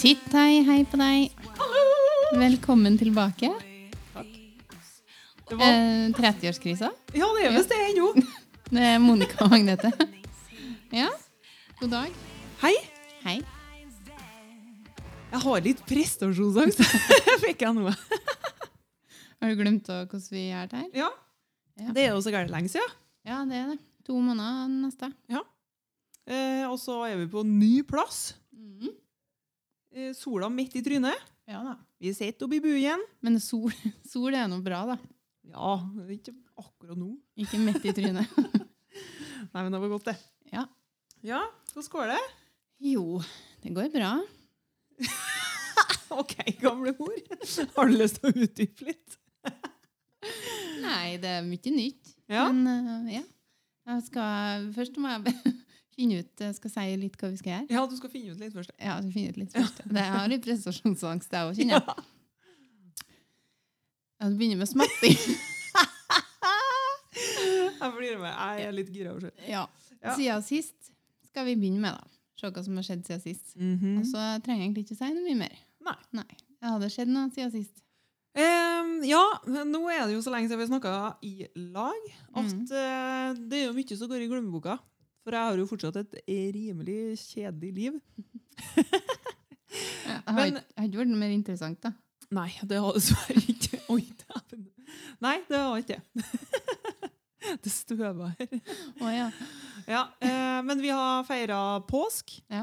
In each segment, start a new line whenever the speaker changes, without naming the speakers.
Titt hei, hei på deg. Velkommen tilbake.
Det var,
Eh, 30-årskrisa.
ja, det er visst det ennå.
Det er Monica og Magnete. Ja, god dag.
Hei.
Hei.
Jeg har litt prestasjonsangst, fikk jeg nå.
Har du glemt å- hvordan vi er her?
Ja.
Ja.
Det er jo så gærent lenge siden.
Ja, det er det. To måneder neste.
Eh, og så er vi på ny plass.
Mhm.
Eh, sola midt i trynet.
Ja da.
Vi sitter oppe i buen.
Men sol, sol er noe bra, da.
Ja, ikke akkurat nå.
Ikke midt i trynet.
Nei, men det var godt, det.
Ja.
Ja, så skål det.
Jo, det går bra.
Ok, gamle mor. Har du lyst til å utdype litt?
Nei, det er mye nytt.
Ja.
Men eh, ja. Jeg skal, først må jeg finne ut Jeg skal si litt hva vi skal gjøre.
Ja, du skal finne ut litt først.
Ja, jeg skal finne ut litt først. Det jeg har litt prestasjonsangst, jeg òg, kjenner jeg. Jeg begynner med smatting.
Jeg blir med. Jeg er litt gira. og skjønn.
Ja.
Ja.
Siden sist skal vi begynne med, da. Se hva som har skjedd siden sist.
Mhm.
Og så trenger jeg egentlig ikke å si noe mye mer.
Mm. Nei.
Nei. Det hadde skjedd noe siden sist.
Em, ja, nå er det jo så lenge siden vi snakka i lag at
Mhm.
eh, det er jo mye som går i glemmeboka. For jeg har jo fortsatt et rimelig kjedelig liv.
Jeg har,
Men-
ikke, jeg har ikke vært noe mer interessant, da.
Nei, det har dessverre ikke Oi, dæven. Nei, det har ikke det. Det støver her.
Å ja.
Ja, eh, men vi har feira påsk.
ja.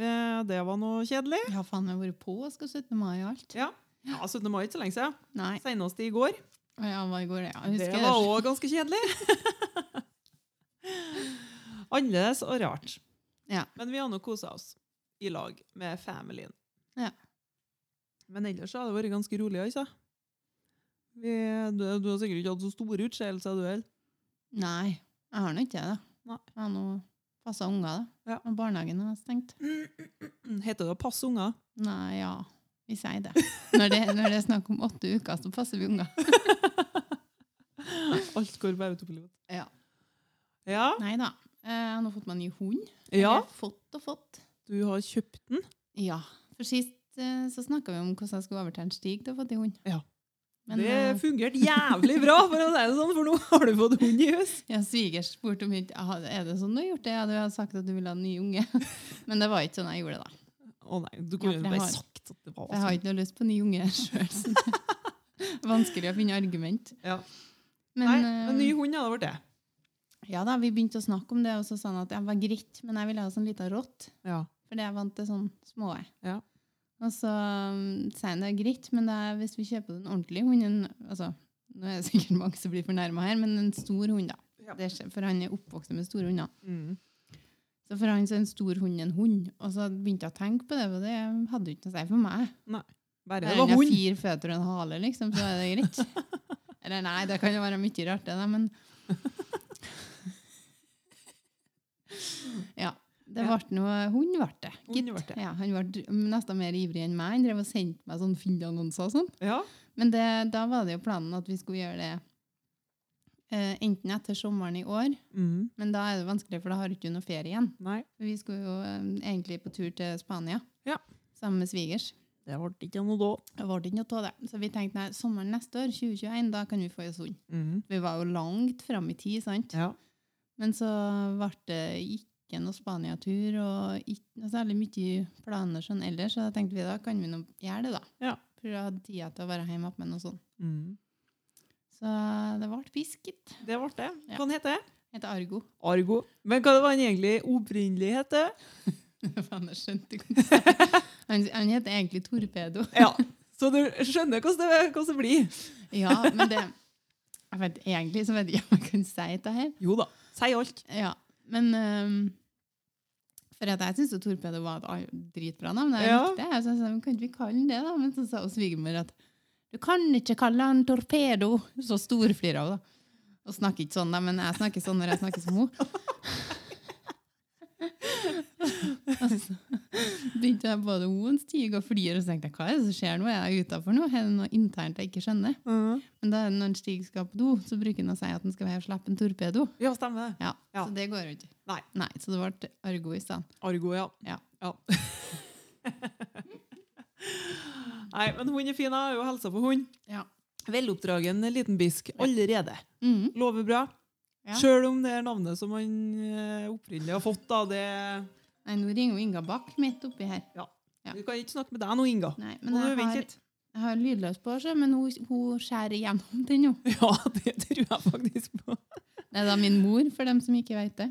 Eh, det var noe kjedelig.
Jeg har faen meg vært på og skal 17. mai og alt.
Ja, ja 17. mai er ikke så lenge siden.
Nei.
Senest i går.
Å Ja, hva går det? Ja, jeg
Det
husker
var òg ganske kjedelig. Annerledes og rart.
Ja.
Men vi har nå kosa oss i lag med familien.
Ja.
Men ellers så har det vært ganske rolig. Altså. Vi, du, du har sikkert ikke hatt så store utskeielser, du heller.
Nei, jeg har nå ikke det. da.
Nei.
Jeg har nå passa unger, da.
Ja.
Og barnehagen er stengt.
Heter det å passe unger?
Nei, ja. Vi sier det. Når det, når det er snakk om åtte uker, så passer vi unger.
Alt går på autopilot.
Ja.
Ja.
Nei da. Eh, Jeg har nå fått meg en ny hund.
ja,
Eller Fått og fått.
du har kjøpt den.
Ja. For sist eh, så snakka vi om hvordan jeg skulle overta en stig til å få til hund.
Ja.
Men
det
eh,
fungerte jævlig bra, for å si det sånn, for nå har du fått hund i hus.
ja, svigers spurte om ikke «Ah, Er det sånn du har gjort det? Ja, du har sagt at du ville ha en ny unge. Men det var ikke sånn jeg gjorde det, da.
Å nei, du kunne
Ja, for
jo
jeg
bare
har-
sagt at det var sånn.
Jeg har ikke noe lyst på ny unge sjøl. Vanskelig å finne argument.
Ja.
Men,
Nei, men ny
eh,
hund hadde vært det.
ja da, vi begynte å snakke om det, og så sa han at jeg var greit, men jeg ville ha sånn liten rått.
Ja.
For det er vant til sånn små. jeg.
Ja.
Og så um, sier han det er greit, men det er, hvis vi kjøper den ordentlige hunden altså, Nå er det sikkert mange som blir fornærma her, men en stor hund, da.
Ja.
Det skjer, for han er oppvokst med store hunder.
Mm.
Så for han så er en stor hund en hund. Og så begynte jeg å tenke på det, og det hadde jo ikke noe å si for meg.
Bare
Bare
det
den
var
har
hund.
fire føtter og en hale, liksom, så er det greit. Eller nei, det kan jo være mye rart, det, da, men Ja. Det
Ja.
ble noe Hund ble det.
Hund
gitt.
vart det.
Ja, han ble nesten mer ivrig enn meg. Han drev og sendte meg sånn Finn-annonser og sånn.
Ja.
Men det, da var det jo planen at vi skulle gjøre det eh, enten etter sommeren i år,
Mm.
men da er det vanskelig, for da har du ikke noe ferie igjen.
Nei,
Vi skulle jo eh, egentlig på tur til Spania
Ja.
sammen med svigers.
det ble ikke noe da.
Det ble ikke noe av det. Så vi tenkte nei, sommeren neste år, 2021, da kan vi få oss hund.
Mm.
Vi var jo langt fram i tid, sant?
Ja.
Men så ble det ikke noe Spania-tur, og ikke noe særlig mye planer sånn ellers, så da tenkte vi da kan vi nå gjøre det, da.
Ja.
For jeg hadde tida til å være hjemme med noe sånt.
Mm.
Så det ble pisket.
Det ble det.
Ja.
Hva den heter det?
Heter Argo.
Argo. Men hva var den egentlig opprinnelig hete?
Faen, jeg skjønte ikke hva jeg sa. han, han heter egentlig Torpedo.
Ja. Så du skjønner hvordan det, hvordan det blir.
Ja, men det jeg vet, Egentlig så vet jeg ikke om jeg kan si det her.
Jo da. Si alt.
Ja, men ehm, For at jeg syns Torpedo var et ar- dritbra navn. Jeg
Ja.
likte det. Jeg sa, sånn, kan ikke vi kalle den det, da? Men så sa hun svigermor at du kan ikke kalle han Torpedo. Så storflirer hun, da. Og snakker ikke sånn, da, men jeg snakker sånn når jeg snakker som henne. Og så begynte jeg både hun stige og flire, og så tenkte jeg hva er det som skjer nå? Er jeg utafor nå? Er det noe internt jeg ikke skjønner?
Mm.
Men da når Stig skal på do, så bruker han å si at han skal være og slippe en torpedo.
Ja, stemmer det.
Ja,
Ja.
Så det går jo ikke.
Nei.
så det ble Argo i stedet.
Argo, ja.
Ja.
Ja. Nei, men hund er fin. Jeg har jo helsa på hund.
Ja.
Veloppdragen liten bisk allerede.
Mhm.
Lover bra.
Ja.
Sjøl om det er navnet som han eh, opprinnelig har fått, da. Det
Nei, nå ringer jo Inga Bach midt oppi her. Ja.
Vi kan ikke snakke med deg nå, Inga.
Nei, men
Nå må
jeg
du vente
har,
litt.
jeg har lydløs på, så, men hun, hun skjærer igjennom den nå.
Ja, det tror jeg faktisk på.
Det er da min mor, for dem som ikke vet det.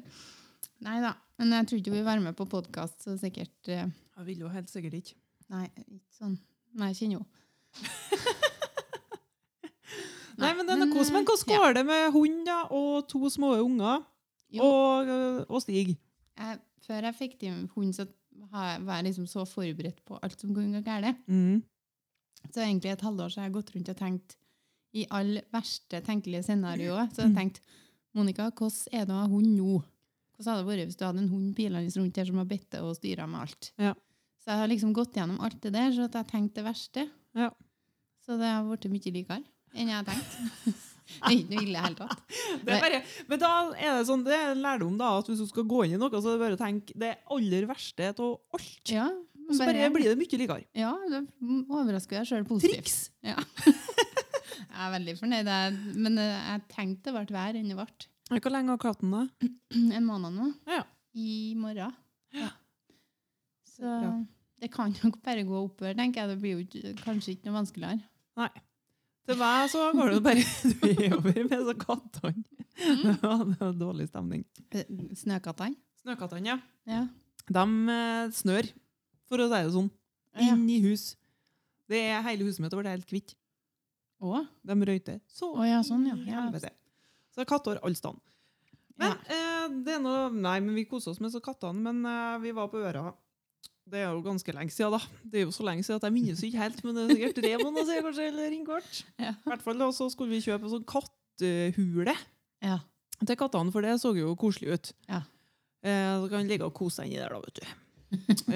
Nei da. Men jeg tror ikke hun vil være med på podkast, så sikkert eh,
Jeg vil jo helt sikkert ikke.
Nei, ikke sånn. Nei, jeg kjenner henne.
Nei, men denne kos, men hvordan
ja.
går det med hund da, og to små unger
Jo.
og, øh, og Stig?
Jeg, før jeg fikk til hund, så har jeg- var jeg liksom så forberedt på alt som kunne gå galt.
Mm.
Så egentlig et halvår så har jeg gått rundt og tenkt i alle verste tenkelige
Mm.
scenarioer. Så har jeg tenkt Monica, hvordan er det å ha hund nå? Hvordan hadde det vært hvis du hadde en hund pilende rundt her som har bitt deg og styra med alt?
Ja.
Så jeg har liksom gått gjennom alt det der, så at jeg har tenkt det verste.
Ja.
Så det har blitt mye likere enn jeg har tenkt. det er ikke noe ille i det hele tatt.
Det er bare, men da er det sånn, det er en lærdom da, at hvis du skal gå inn i noe, så er det bare å tenke det aller verste av alt.
Ja,
Og så bare blir det mye likere.
Ja, det overrasker jeg sjøl positivt.
Triks!
Jeg er veldig fornøyd, jeg- men eh, jeg tenkte det ble verre enn det ble.
Hvor lenge har katten det?
en måned nå.
Ja.
I morgen.
Ja.
Så
Det er bra.
det kan nok bare gå oppover, tenker jeg. Det blir jo ikke, kanskje ikke noe vanskeligere.
Nei. Til meg så går det bare nedover med så kattene.
Mm.
Det var det var dårlig stemning.
Eh, Snøkattene?
Snøkattene, ja.
Ja.
De eh, snør, for å si det sånn.
Ja.
Inn i hus. Det er hele huset mitt har vært helt kvitt.
Å?
De røyter. Så
Å ja, sånn, ja.
i
Ja.
helvete. Så katter alle steder. Men eh, det er noe, nei, men vi koser oss med så kattene, men eh, vi var på øra. Det er jo ganske lenge siden, da. Det er jo så lenge siden at jeg minnes jo ikke helt, men det er sikkert tre måneder siden, kanskje, eller innkvart.
Ja.
I hvert fall da, så skulle vi kjøpe en sånn kattehule
ja.
til kattene, for det så jo koselig ut.
Ja.
Eh, så kan de ligge og kose seg inni der, da, vet du.
Det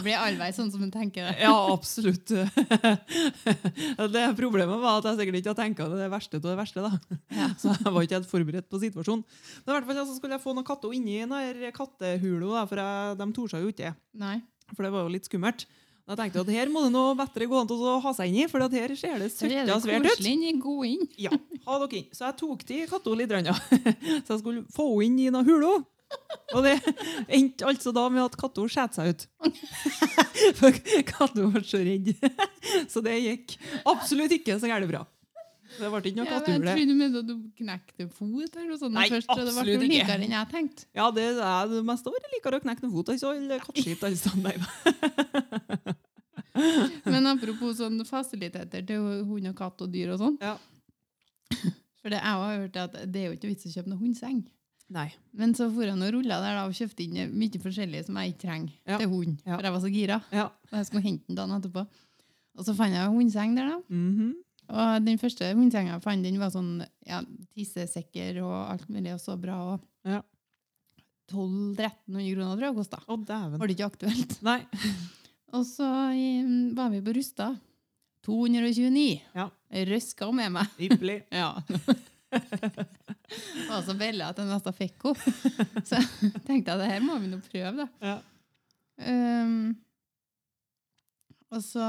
blir allvei sånn som en tenker det.
Ja, absolutt. Det problemet var at jeg sikkert ikke hadde tenkt det, det verste av det verste. da.
Ja.
Så jeg var ikke helt forberedt på situasjonen. Men i hvert fall ja, så skulle jeg få noen katter inni denne kattehula, da, for jeg, de torde seg jo ikke.
Nei.
For det var jo litt skummelt. Og Jeg tenkte at her må det noe bedre gå an til å ha seg inn i, for at her ser det
Så er
søtt
det
og svært ut.
koselig inni gå inn.
Ja, ha dere inn. Så jeg tok til katta litt, grann, ja. så jeg skulle få henne inn i noen hula. Og det endte altså da med at katta skjæt seg ut. For katta ble så redd. Så det gikk absolutt ikke så gærent bra. Det ble ikke noe
Ja, men jeg
kattehule.
trodde du mente at du knekte fot eller noe sånt
Nei,
først. og Det ble
absolutt
jo
ikke.
likere enn jeg tenkte.
Ja, det er det meste året likere å knekke noen fot altså, eller kattskitt. Altså. Nei, da.
Men apropos sånn fasiliteter til hund og katt og dyr og sånn.
Ja.
For det, jeg har hørt at det er jo ikke vits i å kjøpe noen hundseng.
Nei.
Men så for han og rulla der da, og kjøpte inn mye forskjellig som jeg ikke trenger
Ja.
til hund.
Ja.
For jeg var så gira.
Ja.
Og jeg skulle hente den dagen etterpå. Og så fant jeg en hundseng der, da.
Mhm.
Og den første hundsenga jeg fant, den var sånn ja, tissesekker og alt mulig, og så bra. Og
Ja.
1200-1300 kroner tror jeg det kosta.
Å, dæven.
Var det ikke aktuelt?
Nei.
Og så eh, var vi på Rusta. 229.
Ja.
Røska med meg.
Ypperlig.
Ja. var så bella at jeg nesten fikk henne. Så jeg tenkte jeg det her må vi nå prøve, da.
Ja.
Ehm, og så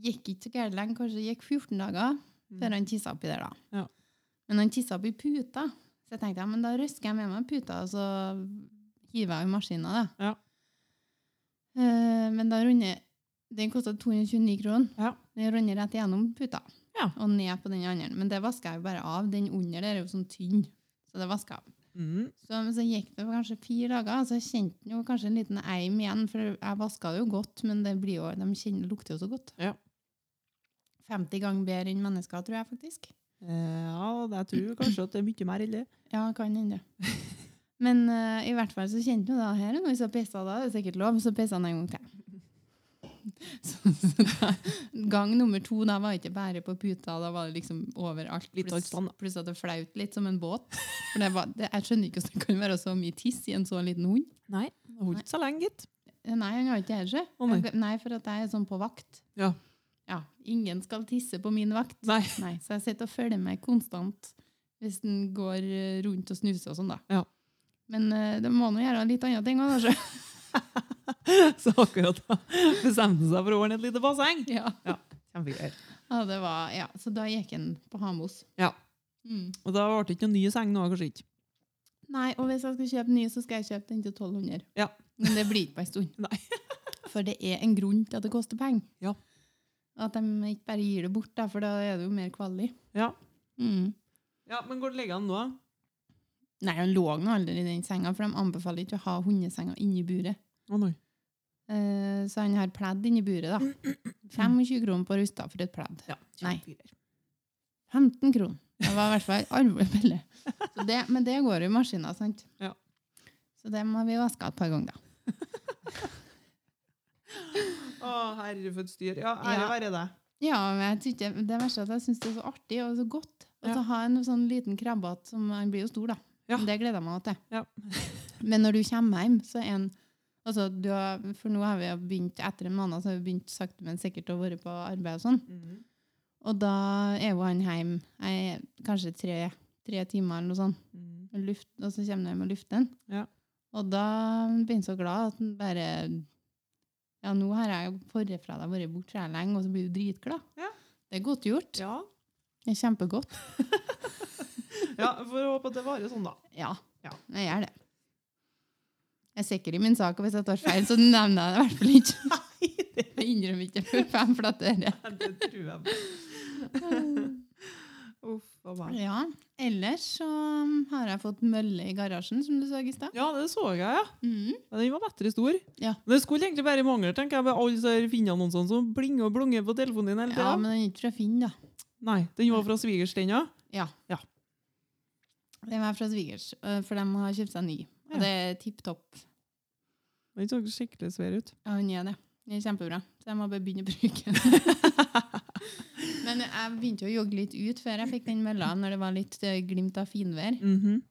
gikk ikke så gærent lenge, kanskje det gikk 14 dager, før han tissa oppi der. da.
Ja.
Men han tissa oppi puta, så jeg tenkte ja, men da røsker jeg med meg puta og så hiver jeg i maskina. da.
Ja.
Eh, men da runder Den kosta 229 kroner.
Ja.
Den runder rett igjennom puta
Ja.
og ned på den andre. Men det vasker jeg jo bare av. Den under der er jo sånn tynn, så det vasker jeg av.
Mhm.
Så, men så gikk det kanskje fire dager, så kjente den jo kanskje en liten eim igjen. For jeg vaska det jo godt, men det blir jo, de kjenner, lukter jo så godt.
Ja.
50 ganger bedre enn mennesker, tror jeg faktisk.
Eh, Ja, jeg tror kanskje at det er mye mer ille.
Ja, kan hende. Men eh, i hvert fall så kjente hun da her er noe som pissa, da er det sikkert lov, så pissa han en gang til. Så, så da, gang nummer to, da var det ikke bare på puta, da var det liksom overalt.
Litt
Pluss-
alt sånn, da.
Pluss at det flaut litt som en båt. For det var, det, jeg skjønner ikke hvordan det kan være så mye tiss i en så liten hund.
Nei, det holdt så lenge, gitt.
Eh, Nei, han har ikke her seg.
Å, nei.
Jeg- Nei, for at jeg er sånn på vakt.
Ja.
Ja, ingen skal tisse på min vakt.
Nei.
Nei, så jeg sitter og følger med konstant hvis den går eh, rundt og snuser og sånn da.
Ja.
Men eh, det må nå gjøre litt andre ting også, kanskje.
Så akkurat da bestemte han seg for å ordne et lite basseng.
Ja.
Kjempegreier.
Ja, det var, ja. Så da gikk han på Hamos.
Ja.
Mm.
Og da ble det ikke noen ny seng nå, kanskje ikke.
Nei, og hvis jeg skal kjøpe nye, så skal jeg kjøpe den til 1200.
Ja.
Men det blir ikke på en stund.
Nei.
For det er en grunn til at det koster penger.
Ja.
At de ikke bare gir det bort, da, for da er det jo mer kvali.
Ja.
Mm.
Ja, men går det ligger an nå? Å
Nei, han lå nå aldri i den senga, for de anbefaler ikke å ha hundesenga inni buret.
nei.
Eh, så han har pledd inni buret, da. 25 kroner på Rusta for et pledd.
Ja,
Nei.
kjempegreier.
15 kroner. Det var i hvert fall alvorlig billig. Så det- Men det går jo i maskiner, sant?
Ja.
Så det må vi vaske et par ganger, da.
Å, herre for et styr. Ja, ære
Ja.
være deg.
Ja, men jeg tykker, Det verste er at jeg syns det er så artig og så godt. Og så
Ja.
ha en sånn liten krabbete som Han blir jo stor, da.
Ja.
Men Det gleder jeg meg til.
Ja.
Men når du kommer hjem, så er han altså, du har, For nå har vi jo begynt etter en måned så har vi begynt sakte, men sikkert å være på arbeid og sånn.
Mm.
Og da er jo han hjemme jeg er kanskje tre, tre timer eller noe sånt.
Mhm.
og luft, og så kommer han og lufter den.
Ja.
Og da blir han så glad at han bare Ja, nå har jeg forrige fredag vært borte så lenge, og så blir du dritglad.
Ja.
Det er godt gjort.
Ja.
Det er kjempegodt.
ja, får håpe at det varer sånn, da.
Ja.
Ja.
Jeg gjør det. Jeg er sikker i min sak, og hvis jeg tar feil, så nevner jeg det i hvert fall ikke. Jeg innrømmer ikke for fem flatere.
Det tror jeg på. Uff a meg.
Ja. Ellers så um, har jeg fått mølle i garasjen, som du så i stad.
Ja, det så jeg, ja.
Mm.
Ja, Den var bedre stor.
Ja.
Men Det skulle egentlig bare mangle, tenker jeg, med alle disse finnannonsene som blinger og blunger på telefonen din hele
Ja,
tida.
men den er ikke fra Finn, da.
Nei, den var fra svigers, den, ja.
Den er fra svigers, øh, for de har kjøpt seg ny. Og
Ja.
det er tipp topp.
Den så skikkelig svær ut.
Ja, den er det. Den er kjempebra. Så jeg må bare begynne å bruke den. Men jeg begynte å jogge litt ut før jeg fikk den mølla, når det var litt øh, glimt av finvær.
Mhm.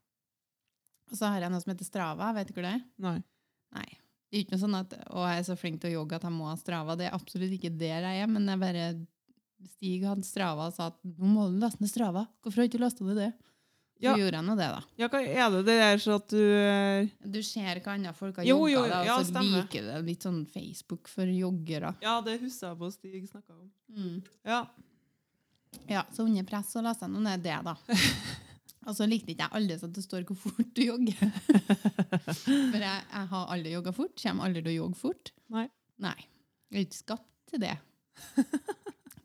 Og så har jeg noe som heter Strava. Vet du hva det er?
Nei.
Nei. Det er ikke noe sånn at å, jeg er så flink til å jogge at jeg må ha Strava. Det er absolutt ikke der jeg er, men jeg bare Stig hadde Strava og sa at nå må du laste ned Strava. Hvorfor har du ikke lasta ned det? Så
Ja.
gjorde jeg nå det, da.
Ja, hva er det det er så at du eh, er
Du ser hva andre folk har
Jo,
jogga,
jo,
da, og
ja,
så
stemmer.
liker det litt sånn Facebook for joggere.
Ja, det husker jeg på Stig snakka om. Ja.
Ja, så under press så leste jeg noe ned det, da. Og så likte ikke jeg aldri at det står hvor fort du jogger. For jeg, jeg har aldri jogga fort. Kommer aldri til å jogge fort.
Nei.
Nei. Jeg er ikke skapt til det.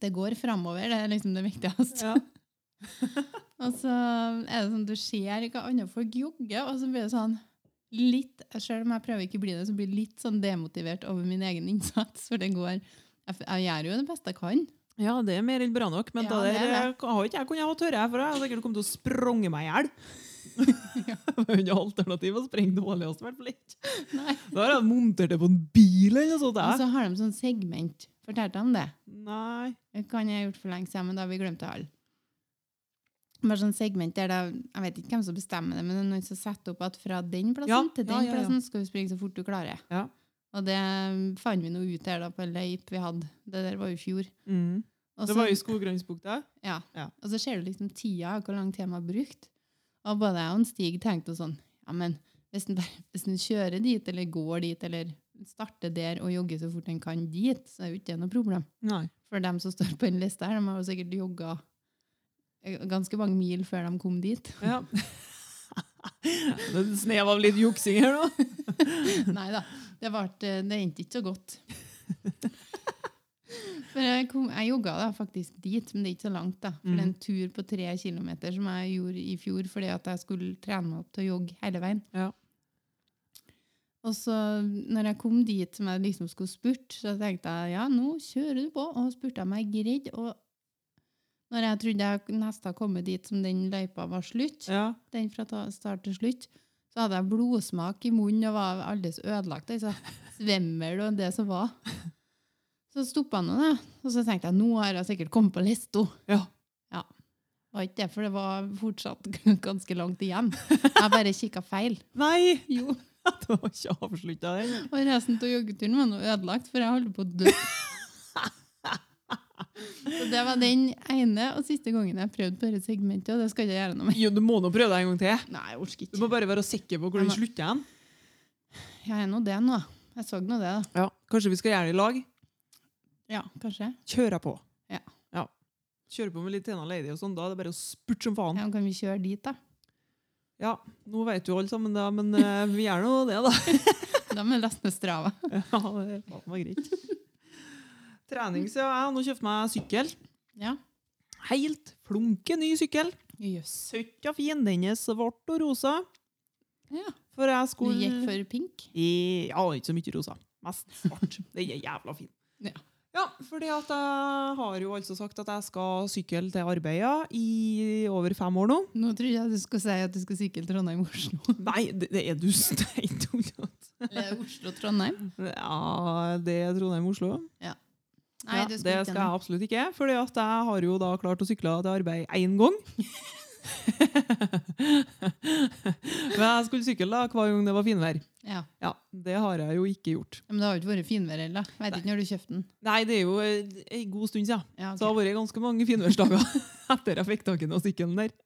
Det går framover, det er liksom det viktigste.
ja.
Og så er det sånn, du ser hva andre folk jogger, og så blir det sånn litt, selv om jeg prøver ikke å bli det, så blir jeg litt sånn demotivert over min egen innsats, for det går, jeg, f- jeg gjør jo det beste jeg kan.
Ja, det er mer enn bra nok, men
Ja,
da
det
der
er
eh, har ikke jeg kunnet ha tørre, for jeg har sikkert kommet til å spronge meg i hjel. Det var jo ikke alternativ å sprenge det vanligste, i hvert fall ikke.
Nei.
Da har jeg montert det på en bil eller noe sånt.
Og
jeg.
så har de sånn segment, fortalte jeg om det.
Altså, Nei.
Det kan jeg ha gjort for lenge siden, men da har vi glemt det alle. Bare sånn segment der det, jeg vet ikke hvem som bestemmer det, men det er noen som setter opp at fra den plassen
Ja,
til
ja,
den
ja, ja.
plassen skal du springe så fort du klarer.
Ja.
Og det fant vi nå ut her da på en løyp vi hadde. Det der var jo i fjor.
Mm.
Og
Det
så-
var i Skogrønnsbukta.
Ja.
Ja.
Og så ser du liksom tida, hvor lang tid de har brukt. Og både jeg og en Stig tenkte jo sånn Ja, men hvis en, bare, hvis en kjører dit, eller går dit, eller starter der og jogger så fort en kan dit, så er jo ikke det noe problem.
Nei.
For dem som står på den lista her, de har jo sikkert jogga ganske mange mil før de kom dit.
Ja. det er et snev av litt juksing her nå.
Nei da. Det, vart, eh, det endte ikke så godt. For jeg, kom, jeg jogga da faktisk dit, men det er ikke så langt. da. For det er en tur på tre kilometer som jeg gjorde i fjor fordi at jeg skulle trene meg opp til å jogge hele veien.
Ja.
Og så når jeg kom dit som jeg liksom skulle spurte, så tenkte jeg ja, nå kjører du på. Og spurte jeg meg greit. Og når jeg trodde jeg nesten hadde kommet dit som den løypa var slutt,
Ja.
den fra ta- start til slutt, så hadde jeg blodsmak i munnen og var aldeles ødelagt. Jeg så svimmel og det som var. Så stoppa han nå, da. Og så tenkte jeg nå har jeg sikkert kommet på lista.
ja.
Var ikke det, for det var fortsatt ganske langt igjen. Jeg bare kikka feil.
Nei!
Jo.
Det var ikke avslutta, den.
Og resten av joggeturen var nå ødelagt, for jeg holdt på å dø. Så det var den ene og siste gangen jeg prøvde på dette segmentet, og det skal jeg ikke gjøre noe med.
Jo, Du må nå prøve deg en gang til.
Nei, jeg orker
Du
ikke.
må bare være sikker på hvor den
Ja, men-
slutter. hen.
Jeg er nå det nå. Jeg så nå det, da.
Ja. Kanskje vi skal gjøre det i lag?
Ja, kanskje.
Kjøre på.
Ja.
Kjøre på med litt Tena Lady og sånn. Da er det bare å spurte som faen.
Ja, kan vi kjøre dit, da?
Ja, nå vet jo alle sammen det, men eh, vi gjør nå det, da.
Da må vi laste ned Strava.
Ja, det faen var greit. Trening, så jeg har nå kjøpt meg sykkel.
Ja.
Helt flunke ny sykkel.
Jøss.
Søkka fin. Den er svart og rosa.
Ja.
For jeg
Du
skulle
gikk for pink?
I- Ja, ikke så mye rosa. Mest svart. Den er jævla fin.
Ja.
Ja, fordi at jeg har jo altså sagt at jeg skal sykle til arbeidet i over fem år nå.
Nå trodde jeg du skulle si at du skulle sykle Trondheim-Oslo.
Nei, det, det er du steintullete.
Eller Oslo-Trondheim?
Ja, det er Trondheim-Oslo.
Nei,
ja,
du
det
skulle ikke
skal jeg absolutt ikke. For jeg har jo da klart å sykle til arbeid én gang. Men jeg skulle sykle da hver gang det var finvær.
Ja.
Ja, Det har jeg jo ikke gjort.
Men det har jo ikke vært finvær heller. Jeg Vet ikke når du kjøpte den.
Nei, det er jo eh, en god stund siden.
Ja,
Så det har
ok.
vært ganske mange finværsdager etter jeg fikk tak i den sykkelen der.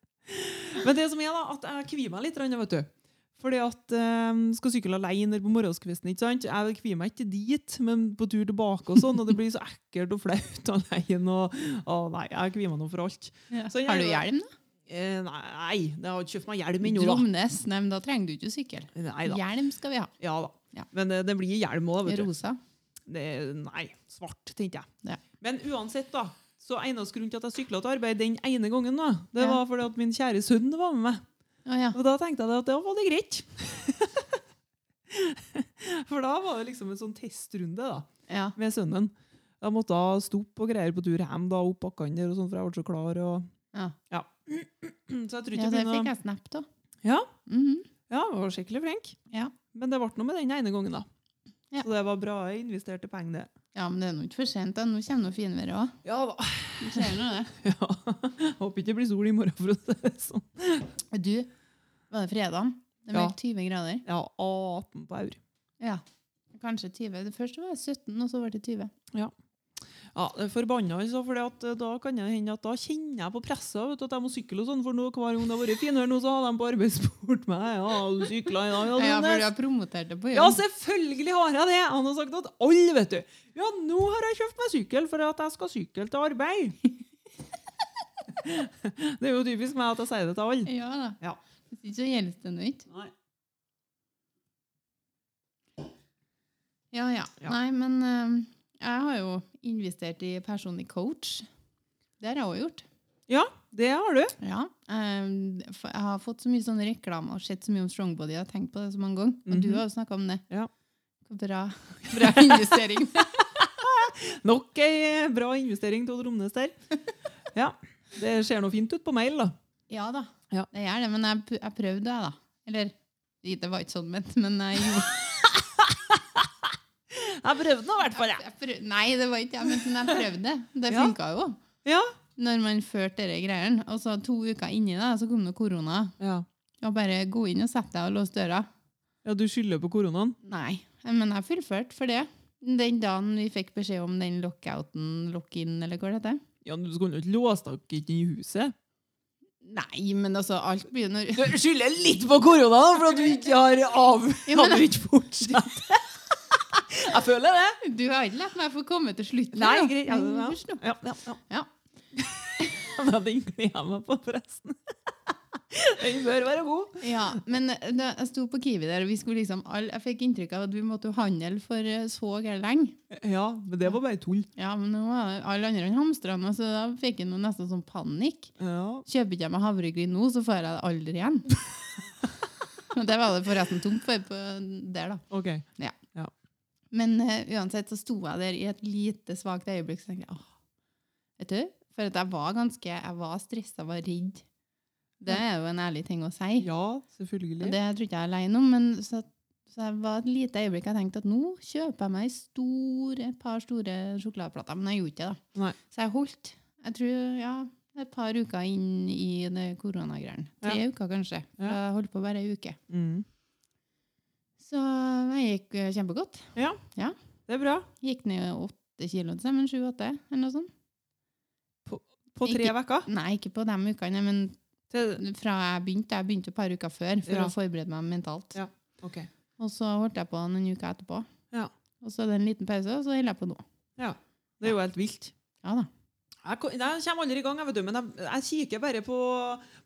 Men det som er, da, at jeg kvier meg litt, grann, vet du. Fordi at eh, skal sykle alene på morgenskvisten, ikke sant? Jeg kvier meg ikke dit, men på tur tilbake og sånn, og det blir så ekkelt og flaut alene, og, og nei, jeg kvier meg nå for alt.
Ja.
så jeg-
Har du hjelm, da?
Eh, nei, det har ikke kjøpt meg hjelm ennå, da.
Dromnes? Nei, men da trenger du ikke sykkel.
Nei da.
Hjelm skal vi ha.
Ja da.
Ja.
Men eh, det blir hjelm òg, vet du.
Rosa.
Det, nei, svart, tenkte jeg.
Ja.
Men uansett, da. Så eneste grunnen til at jeg sykla til arbeid den ene gangen, da, det
Ja.
var fordi at min kjære sønn var med meg.
Å ja.
Og da tenkte jeg at det var det greit. For da var det liksom en sånn testrunde da,
ja.
med sønnen. Jeg måtte jeg stoppe og greier på tur hjem, da, opp bakkene der, og sånn, for jeg ble så klar. Og...
Ja.
Så jeg tror
ja, der
ikke jeg
fikk
begynner å
jeg snap, da.
Ja.
Mhm.
Ja, jeg var skikkelig flink.
Ja.
Men det ble noe med den ene gangen, da.
Ja.
Så det var bra jeg investerte penger, det.
ja, men det er nå ikke for sent. da. Nå kommer nå finværet òg.
Ja da.
Du ser nå det.
Ja. Håper ikke det blir sol i morgen, for å si det sånn.
Du, var det fredag? Det var
Ja.
20 grader.
Ja, 18 på eur.
Ja. Kanskje 20. Det første var 17, og så ble det 20.
Ja, det er Forbanna, altså. For da kan det hende at da kjenner jeg på pressa vet du, at jeg må sykle og sånn. For nå, hver gang det har vært finvær nå, så har de på arbeidsport meg. Ja, du sykla i
Ja,
dag, ja,
for du
Johannes.
har promotert det på
Ja,
jobb.
selvfølgelig har jeg det! Han har sagt at alle, vet du. Ja, nå har jeg kjøpt meg sykkel for at jeg skal sykle til arbeid. Det er jo typisk meg at jeg sier det til alle.
Ja da.
Ja.
Hvis ikke så gjelder det noe ikke.
Nei.
Ja, ja.
Ja.
Nei, men eh, jeg har jo investert i personlig coach. Det har jeg også gjort.
Det har du.
Ja. eh, for jeg har fått så mye sånn reklame og sett så mye om Strongbody. Jeg har tenkt på det så mange ganger. Og du
Mhm.
har jo snakka om det.
Ja.
Bra, bra investering.
Nok ei bra investering til Odd Romnes der. Ja, Det ser noe fint ut på mail, da.
ja da.
Ja.
Det gjør det. Men jeg, p- jeg prøvde, jeg, da. Eller det var ikke sånn ment, men jeg gjorde
Jeg prøvde nå i hvert fall, jeg.
Jeg prøv, nei, det var ikke jeg, men sånn jeg prøvde. Det
Ja.
funka jo.
Ja.
Når man førte dere greiene. Og så to uker inni det, så kom det korona.
Ja.
Og bare gå inn og sette deg og låse døra.
Ja, du skylder på koronaen?
Nei, men jeg fullførte for det. Den dagen vi fikk beskjed om den lockouten, lock-in, eller hva det heter.
Ja, men Du skulle jo ikke låst dere inn i huset?
Nei, men altså, alt blir jo når
Du skylder litt på koronaen for at du ikke har av...
Ja, men-
hadde du ikke fortsatt. Jeg føler det.
Du har ikke latt meg få komme til slutten.
Nei,
da.
greit. Ja,
Men
ja.
først nå.
Ja, ja, ja.
Ja.
Ja, Den gleder jeg meg på, forresten. Den bør være god.
Ja, men eh, da jeg sto på Kiwi der, og vi skulle liksom all, jeg fikk inntrykk av at vi måtte jo handle for eh, så gærent lenge.
Ja, men det var bare tull.
Ja, men nå var det alle andre enn hamstrene, så da fikk jeg noe nesten sånn panikk.
Ja.
Kjøper ikke jeg meg havregryn nå, så får jeg det aldri igjen. Men det var det forresten tomt for på der, da.
Ok.
Men eh, uansett så sto jeg der i et lite svakt øyeblikk, så tenkte jeg, åh, vet du? For at jeg var ganske, jeg var stresset, jeg var redd. Det er jo en ærlig ting å si.
Ja,
Og
selvfølgelig.
Det tror ikke jeg er alene om, men så, så jeg var et lite øyeblikk jeg tenkte at nå kjøper jeg meg stor, et par store sjokoladeplater, men jeg gjorde ikke det. da.
Nei.
Så jeg holdt, jeg tror, ja, et par uker inn i det koronagreiene. Tre uker kanskje, for
Ja.
jeg holdt på bare en uke.
Mm.
Så det gikk eh, kjempegodt.
Det er bra.
Gikk ned åtte kilo til sammen, sju-åtte, eller noe sånt.
På tre
Ikke-
uker.
Nei, ikke på de ukene, men
Til-
fra jeg begynte, jeg begynte et par uker før, for
Ja.
å forberede meg mentalt.
Ja. Ok.
Og så holdt jeg på noen uker etterpå.
Ja.
Og så er det en liten pause, og så holder jeg på nå.
Det er jo helt vilt.
Ja da.
Jeg, ko- jeg kommer aldri i gang, jeg vet du, men jeg, jeg kikker bare på,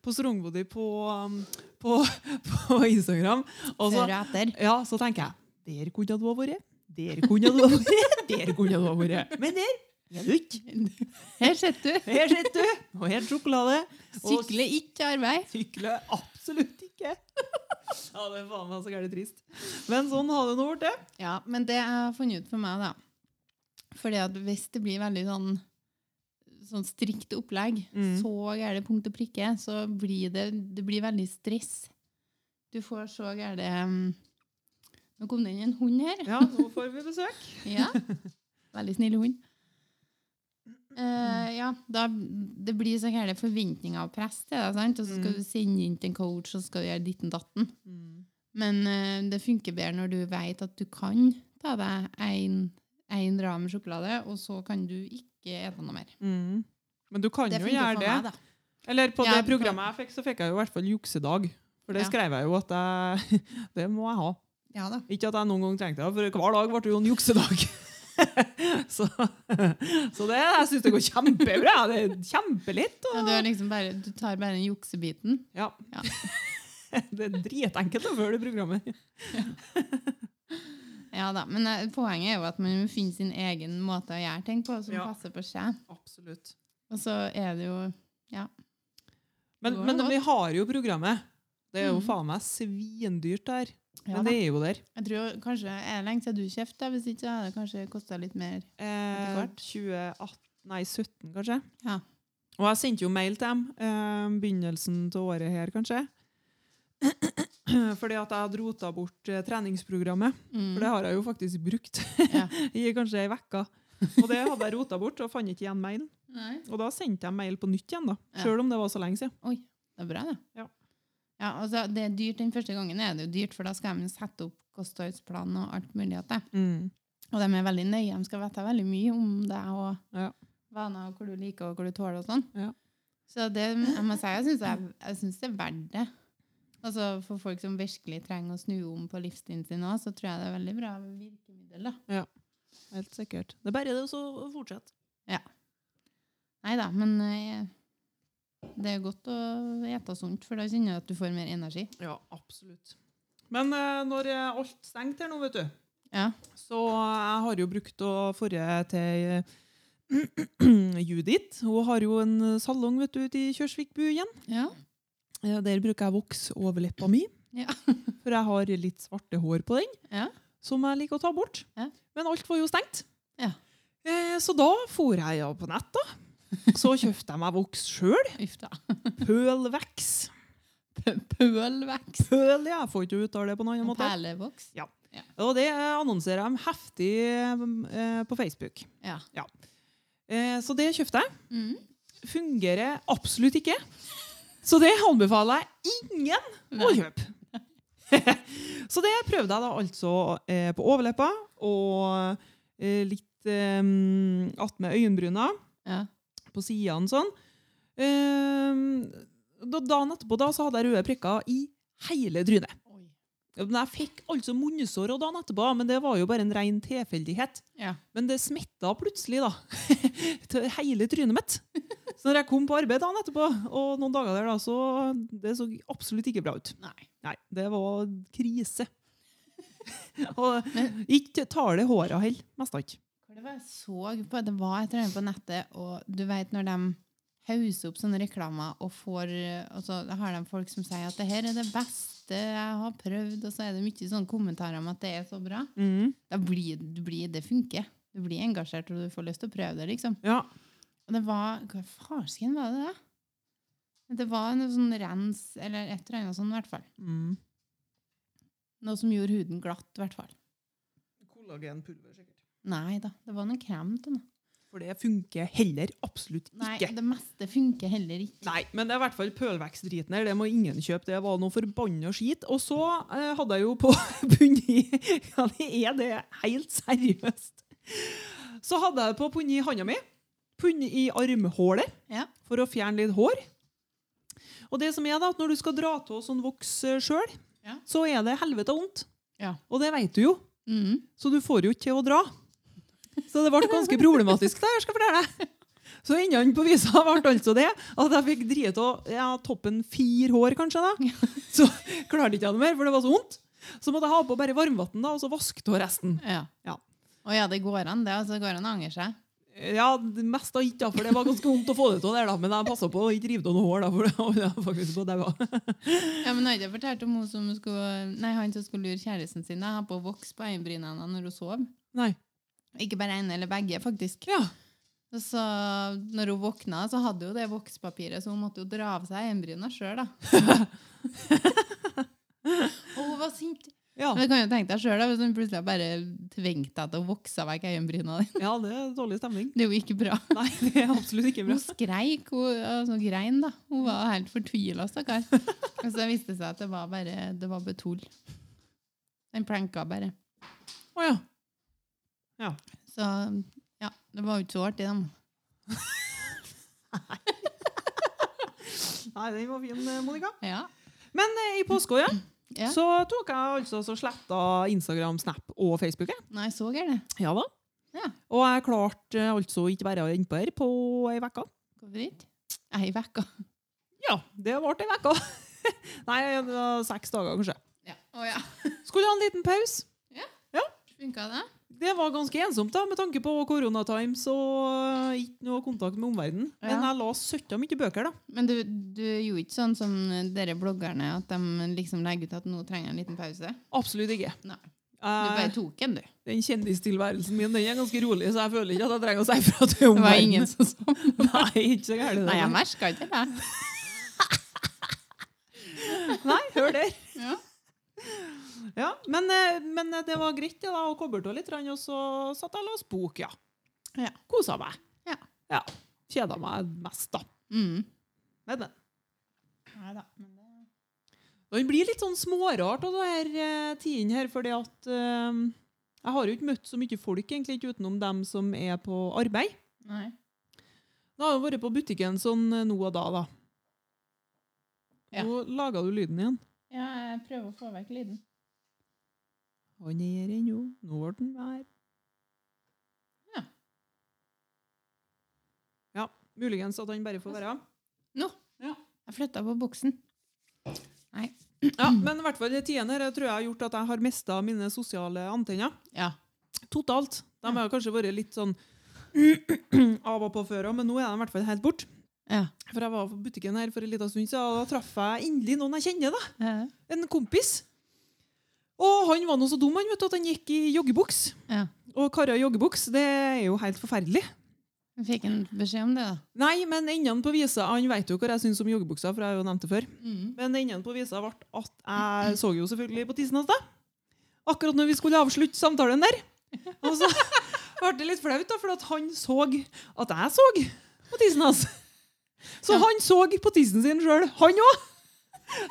på Strongbody på, um, på, på Instagram. Og så,
Før og etter.
ja, så tenker jeg Der kunne du ha vært. Der kunne du ha vært. Der kunne du ha vært. Men der er du ikke.
Her sitter du.
Her sitter du. Og helt sjokolade. Og
Sykler ikke til arbeid.
sykler absolutt ikke. Ja, det er faen meg så gærent trist. Men sånn har det nå blitt. det.
Ja, men det jeg har funnet ut for meg, da Fordi at hvis det blir veldig sånn Sånn strikt opplegg,
Mm.
så gæle punkt og prikke, så blir det, det blir veldig stress. Du får så gæle um, Nå kom det inn en hund her.
Ja, nå får vi besøk.
Ja. Veldig snill hund. Eh, ja, da, det blir så gærne forventninger og press til deg. sant? Og så skal
Mm.
du sende inn til en coach, og så skal du gjøre ditten datten. Men eh, det funker bedre når du vet at du kan ta deg én ram sjokolade, og så kan du ikke ete noe mer.
Mm. Men du kan jo
funker
gjøre
for
det.
meg, da.
Eller på
Ja,
det programmet jeg fikk, så fikk jeg jo i hvert fall juksedag. For det
Ja.
skrev jeg jo at jeg, det må jeg ha.
Ja da.
Ikke at jeg noen gang trengte det, for hver dag ble det jo en juksedag. så, så det jeg synes det går kjempebra. Det er kjempelett.
Ja,
Og,
du, er liksom bare, du tar bare den juksebiten.
ja.
Ja.
det er dritenkelt å følge det programmet.
Ja da, Men eh, poenget er jo at man må finne sin egen måte å gjøre ting på som
Ja.
passer for seg.
Absolutt.
Og så er det jo
Men,
Det var
men
godt.
vi har jo programmet. Det er jo
Mhm.
faen meg svindyrt der.
ja,
Men
da.
det er jo der.
Jeg tror kanskje er det lenge siden du kjøpte, hvis ikke hadde det kanskje kosta litt mer.
Eh,
hvert.
2018, nei 17 kanskje.
Ja.
Og jeg sendte jo mail til dem, eh, begynnelsen til året her kanskje. Fordi at jeg hadde rota bort eh, treningsprogrammet.
Mm.
For det har jeg jo faktisk brukt
Ja.
i kanskje ei uke. Og det hadde jeg rota bort og fant ikke igjen mailen.
Nei.
Og da sendte jeg mail på nytt igjen, da.
Ja.
Sjøl om det var så lenge siden.
Det er bra, det.
Ja.
Ja, altså, det er dyrt den første gangen, er det jo dyrt, for da skal de sette opp kostholdsplan og alt mulig. at det.
Mm.
Og de er veldig nøye, de skal vite veldig mye om deg og
Ja.
vaner og hvor du liker og hvor du tåler og sånn.
Ja.
Så det, jeg må si, jeg syns jeg- jeg synes det er verdt det. Altså, For folk som virkelig trenger å snu om på livsstilen sin òg, så tror jeg det er veldig bra virkemiddel. da.
Helt sikkert. Det er bare det å så fortsette.
Nei da, men eh, det er godt å ete sunt, for da kjenner du at du får mer energi.
Ja, absolutt. Men eh, når eh, alt stengte her nå, vet du,
Ja.
Så eh, jeg har jo brukt å forrige til Judith. Hun har jo en salong vet du, ute i Kjørsvikbu igjen.
Ja.
Eh, Der bruker jeg voks over leppa mi.
Ja.
For jeg har litt svarte hår på den,
Ja.
som jeg liker å ta bort.
Ja.
Men alt var jo stengt.
Ja.
Eh, Så da for jeg ja på nett, da. Så kjøpte jeg meg voks sjøl.
Uff da.
Pølveks.
Pølvekst.
Pøl, ja. Jeg får ikke uttale det på noen annen måte.
Perlevoks.
Og det eh, annonserer jeg heftig eh, på Facebook.
Ja.
Eh, Så det kjøpte jeg.
Mm.
fungerer absolutt ikke. Så det anbefaler jeg ingen å
Nei.
kjøpe. så det prøvde jeg da altså eh, på overleppa og eh, litt eh, attmed øyenbryna,
Ja.
på sidene sånn. Eh, da, dagen etterpå da, så hadde jeg røde prikker i hele trynet.
Oi.
Men jeg fikk altså munnesår og dagen etterpå, men det var jo bare en ren tilfeldighet.
Ja.
Men det smitta plutselig da, til hele trynet mitt. Så når jeg kom på arbeid dagen etterpå, og noen dager der da, så det så absolutt ikke bra ut.
Nei.
Nei, det var krise. og ikke tar det håret heller, mest av ikke.
Hva det var jeg så på? Det var et eller annet på nettet, og du vet når de hauser opp sånne reklamer, og, får, eh, og så har de folk som sier at det her er det beste jeg har prøvd, og så er det mye sånne kommentarer om at det er så bra.
Mm.
Da blir, du blir det funker. Du blir engasjert, og du får lyst til å prøve det, liksom.
Ja,
Og det var Hva farsken var det, da? Det var noe sånn rens, eller et eller annet sånn, i hvert fall.
mm.
Noe som gjorde huden glatt, i hvert fall.
Kollagenpulver sikkert.
Nei da, det var noen krem til noe.
For det funker heller absolutt
Nei,
ikke.
det meste funker heller ikke.
Nei, men det er i hvert fall pølvekstdriten her. Det må ingen kjøpe. Det var noe forbanna skit. Og så eh, hadde jeg jo på bunn i Ja, det er det. Helt seriøst. Så hadde jeg det på bunn i handa mi. Bunn i armhålet
Ja.
for å fjerne litt hår. Og det som er da, at når du skal dra av sånn voks sjøl,
Ja.
så er det helvete vondt.
Ja.
Og det veit du jo.
Mm.
så du får jo ikke til å dra. Så det ble ganske problematisk der, skal jeg fortelle deg. Så enden på visa ble altså det at jeg fikk driet av ja, toppen fire hår, kanskje. da. Så klarte ikke jeg det mer, for det var så vondt. Så måtte jeg ha på bare varmvann og så vasket av resten.
Ja.
Ja.
Å ja, det går an, det. Altså, det går an å angre seg.
Ja, det mest av ikke, da, for det var ganske vondt å få det til der, da. Men jeg passa på å ikke rive av noe hår, da, for det holdt jeg faktisk på å daue.
Ja, men Har ikke jeg fortalt om hun som skulle, nei, han som skulle lure kjæresten sin? Jeg har på voks på øyenbrynene når hun sov.
Nei.
Ikke bare ene eller begge, faktisk.
Ja.
Og Så når hun våkna, så hadde hun det vokspapiret, så hun måtte jo dra av seg øyenbryna sjøl, da. Og hun var sint.
Ja,
Men du kan jo tenke deg sjøl hvis hun plutselig bare tvingte deg til å vokse vekk øyenbryna dine.
ja det er dårlig stemning.
Det er jo ikke bra.
Nei, det er absolutt ikke bra.
Hun skreik, hun altså, grein, da. Hun var helt fortvila, stakkar. Og så viste det seg at det var bare det var betull. Den plenka bare.
Å ja.
Så ja, det var jo ikke så artig, da.
Nei, den var fin, Monica.
Ja.
Men eh, i påska, ja,
Ja.
så tok jeg altså så sletta Instagram, Snap og Facebook. jeg.
Nei, så gærent.
Ja da.
Ja.
Og jeg klarte eh, altså ikke være innpå her på ei uke.
Hvorfor ikke? Ei uke.
Ja, det ble ei uke. Nei, det var seks dager kanskje.
Ja. Å ja.
Skulle ha en liten pause.
Funka det?
Det var ganske ensomt da, med tanke på koronatimes og eh, ikke noe kontakt med omverdenen. Men
Ja.
jeg la søtta mye bøker, da.
Men du, du gjorde ikke sånn som dere bloggerne, at de liksom legger ut at nå trenger jeg en liten pause?
Absolutt ikke.
Nei. Du
Eh,
bare tok en, du.
den kjendistilværelsen min den er ganske rolig, så jeg føler ikke at jeg trenger å si fra til
Det var
omverdenen.
ingen som så
Nei, ikke så gærent. det
Nei,
da.
jeg merka ikke det.
Nei, hør der.
Ja.
Ja, men, eh, men eh, det var greit det da, å koble av litt, grann, og så satt jeg og leste bok, ja.
Ja.
Kosa meg.
Ja.
ja. Kjeda meg mest, da.
Mm.
Men, men.
Nei da. Men det...
Den blir litt sånn smårart av denne eh, tiden her, fordi at eh, jeg har jo ikke møtt så mye folk, egentlig, ikke utenom dem som er på arbeid.
Nei.
Da har jeg vært på butikken sånn eh, nå og da, da.
Ja.
Nå laga du lyden igjen.
Ja, jeg prøver å få vekk lyden.
Han er ennå, nå ble den vær.
Ja.
Ja, muligens at han bare får være.
Nå!
Ja.
Jeg flytta på buksen.
Ja, men i hvert fall det tiende her jeg tror jeg har gjort at jeg har mista mine sosiale antenner.
Ja.
Totalt. De har kanskje vært litt sånn av og på før òg, men nå er de i hvert fall helt borte.
Ja.
For jeg var på butikken her for en liten stund siden, og da traff jeg endelig noen jeg kjenner. da.
Ja.
En kompis. Og han var nå så dum han, vet du, at han gikk i joggebuks.
ja.
Og karer i joggebuks, det er jo helt forferdelig.
Jeg fikk en beskjed om det, da.
Nei, men enden på visa Han vet jo hva jeg syns om joggebuksa, for jeg har jo nevnt det før.
Mm.
Men enden på visa ble at jeg så jo selvfølgelig på tissen hans, da. Akkurat når vi skulle avslutte samtalen der. Og så ble det litt flaut, da, for at han så at jeg så på tissen hans. Så
Ja.
han så på tissen sin sjøl, han òg.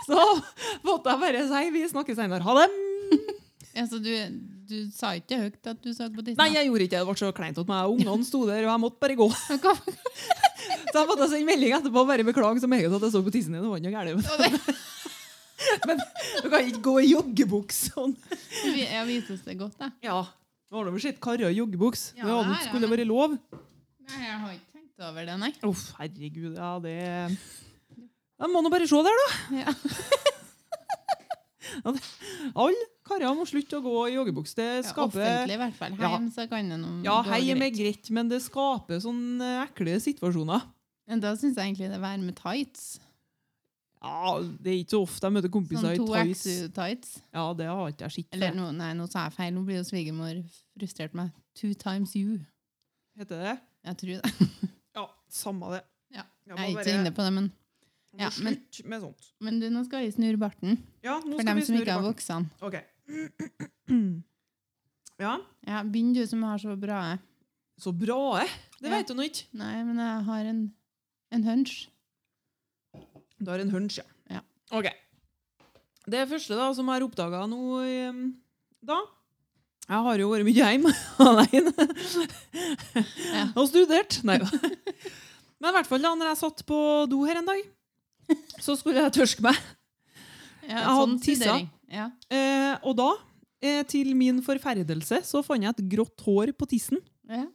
Så måtte jeg bare si vi snakkes senere. Ha det.
Ja, så du, du sa ikke høyt at du så på tissen?
Nei, jeg gjorde ikke det. Det ble så kleint at meg. Ungene sto der, og jeg måtte bare gå.
Hva-
Så jeg måtte sende melding etterpå og bare beklage så meget at jeg så på tissen din. Det var ikke noe gærent.
Og det-
Men du kan ikke gå i joggebuks sånn.
Vi- Jeg vises det godt, da.
Ja. Det var noe skitt karer i joggebuks.
Ja,
det hadde,
det er, ja,
skulle
men-
vært lov.
Nei, jeg har ikke tenkt over det, nei.
Uff, herregud. Ja, det Jeg må nå bare se der, da.
Ja.
Alle karer må slutte å gå i joggebuks. Det
Ja,
skaper
offentlig, i hvert fall.
Ja.
Heim, så kan det noe
Ja,
gå
hei
greit.
med greit, men det skaper sånne ekle situasjoner.
Men da syns jeg egentlig det er vær med tights.
Ja, Det er ikke så ofte jeg møter
Sånn
kompiser
to
i tights.
XU-tights.
Ja, det har ikke jeg sett
Eller
før.
no, nei, nå sa jeg feil. Nå blir jo svigermor frustrert meg. Two times you.
Heter det?
Jeg tror det.
Ja, samme det.
Ja,
Jeg
Jeg er
må
ikke
bare
så inne på det, men,
må
ja, men-
slutte med sånt.
men du, nå skal jeg snurre barten.
Ja, nå
For
skal
dem
vi
som
snurre
ikke har
bak.
vokst den.
Ok. Ja,
Ja, Begynn du, som har så bra jeg.
så bra, eh. Det
Ja.
vet du nå ikke.
Nei, men jeg har en, en hunch.
Du har en hunch, ja.
Ja.
Ok. Det første da, som jeg har oppdaga nå eh, da Jeg har jo vært mye hjemme alene
Ja.
og studert. Nei da. Men i hvert fall da når jeg satt på do her en dag, så skulle jeg tørske meg.
Ja,
Jeg hadde tissa.
studering. Ja.
Eh, og da Eh, til min forferdelse så fant jeg et grått hår på tissen.
Ja.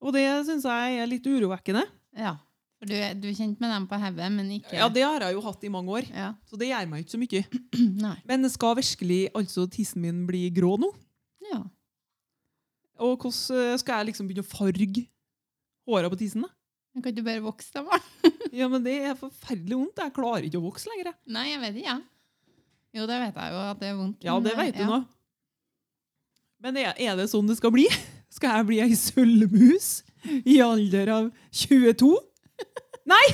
Og det syns jeg er litt urovekkende.
ja. For du, er- du er kjent med dem på hodet, men ikke
Ja, det har jeg jo hatt i mange år,
Ja.
så det gjør meg ikke så mye.
Nei.
Men skal virkelig altså tissen min bli grå nå?
Ja.
Og hvordan eh, skal jeg liksom begynne å farge håra på tissen? da?
Men kan du bare vokse dem, da?
Ja, men det er forferdelig vondt. Jeg klarer ikke å vokse lenger. jeg.
Nei, jeg vet ikke, jeg. Jo, det vet jeg jo at det er vondt.
Mm, Ja,
men,
det
eh,
vet du
ja.
nå. Men er, er det sånn det skal bli? Skal jeg bli ei sølvmus i alder av 22? Nei!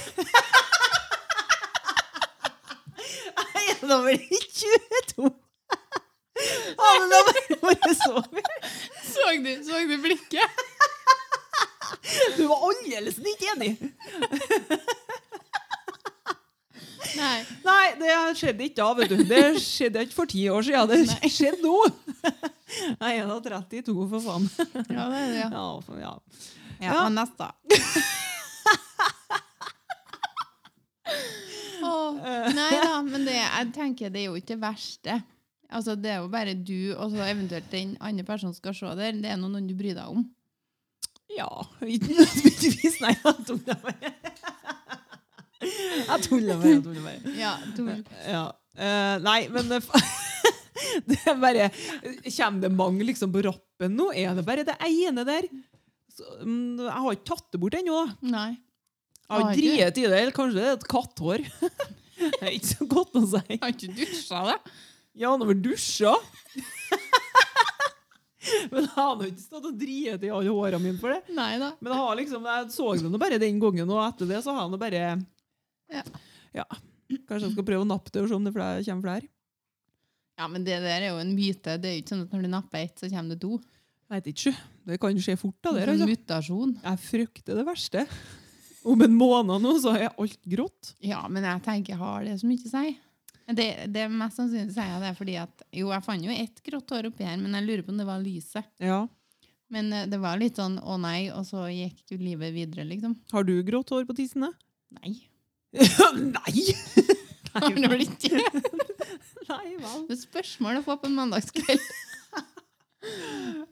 Jeg er da vel ikke 22? Hadde det bare vært så
Så du, så du blikket?
Du var aldeles ikke enig.
Nei.
Nei, det skjedde ikke da, vet du. Det skjedde ikke for ti år siden.
Nei.
Det skjedde nå. Jeg er da 32, for faen.
Ja, det er det, ja.
Ja, for, ja.
Ja,
Ja.
og neste. Åh, nei da, men det, jeg tenker det er jo ikke det verste. Altså, det er jo bare du og så eventuelt den andre personen som skal se der. Det er nå noen du bryr deg om.
Ja, ikke nødvendigvis. Nei, jeg tuller bare. Jeg tuller bare. Jeg tuller bare.
Ja, du,
Ja. eh, nei, men det, det er bare Kommer det mange liksom på rappen nå? Er det bare det ene der? Så, mm, jeg har ikke tatt det bort ennå. da.
nei.
Jeg har
Har
ikke
ikke?
driet i det. Eller kanskje det er et katthår. Det er ikke så godt å si.
Har ikke dusja det?
Ja, han har vel dusja. Men jeg har nå ikke stått og driet i alle hårene mine for det.
Nei da.
Men jeg, har liksom, jeg så det nå bare den gangen, og etter det så har jeg nå bare
Ja.
Ja. Kanskje jeg skal prøve å nappe det og se om det fle- kommer flere.
Ja, men det der er jo en myte. Det er jo ikke sånn at når du napper ett, så kommer det to.
Jeg vet ikke. Det kan skje fort. da,
Det
der,
er en
altså.
mutasjon.
Jeg frykter det verste. Om en måned nå så er alt grått.
Ja, men jeg tenker har det så mye å si. Men Det, det er mest sannsynlig sier jeg det fordi at Jo, jeg fant jo ett grått hår oppi her, men jeg lurer på om det var lyset.
Ja.
Men eh, det var litt sånn å nei, og så gikk jo livet videre, liksom.
Har du grått hår på tissen? da?
Nei.
Nei!
Har det vel ikke?
Nei vel.
Det er spørsmål å få på en mandagskveld.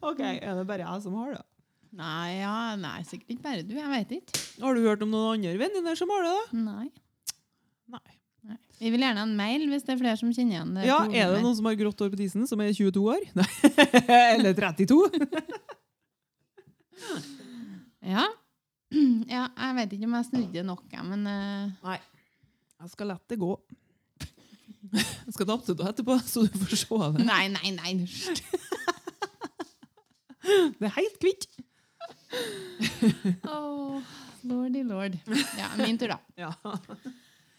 OK, er det bare jeg som har det?
Nei, ja, nei, sikkert ikke bare du. Jeg vet ikke.
Har du hørt om noen andre venninner som har det? da?
Nei.
Nei.
nei. Vi vil gjerne ha en mail hvis det er flere som kjenner igjen det.
Ja,
problemet
Er det
her.
noen som har grått hår på tissen, som er 22 år? Nei. Eller 32?
Ja. ja. Jeg vet ikke om jeg snudde nok, jeg, men eh,
Jeg skal la det gå. Jeg skal tappe det da etterpå, så du får se det.
Nei, nei, nei. hysj.
Det er helt kvitt.
Åh, lordy lord. Ja, min tur, da.
Ja.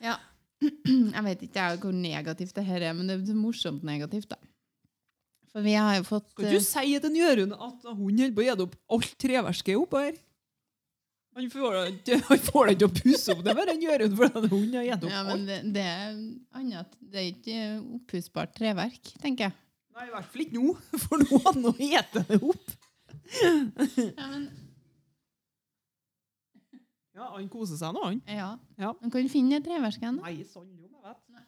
Ja. Jeg vet ikke jeg, hvor negativt det her er, men det er morsomt negativt, da. For vi har jo fått eh,
Kan ikke du si til Jørund at hun holder på å gjøre opp alt treverket oppå her? Han får det ikke- han får det ikke å pusse opp, det er bare en Jørund, for han hunden har gjett
eh,
opp
ja, men
alt.
det, det er annet at Det er ikke oppussbart treverk, tenker jeg.
Nei, i hvert fall ikke nå, for nå har han spist det opp.
Ja, men,
Ja, han koser seg nå, han.
ja.
Ja.
Man kan finne det treverket ennå.
Nei, sånn jo, jeg vet.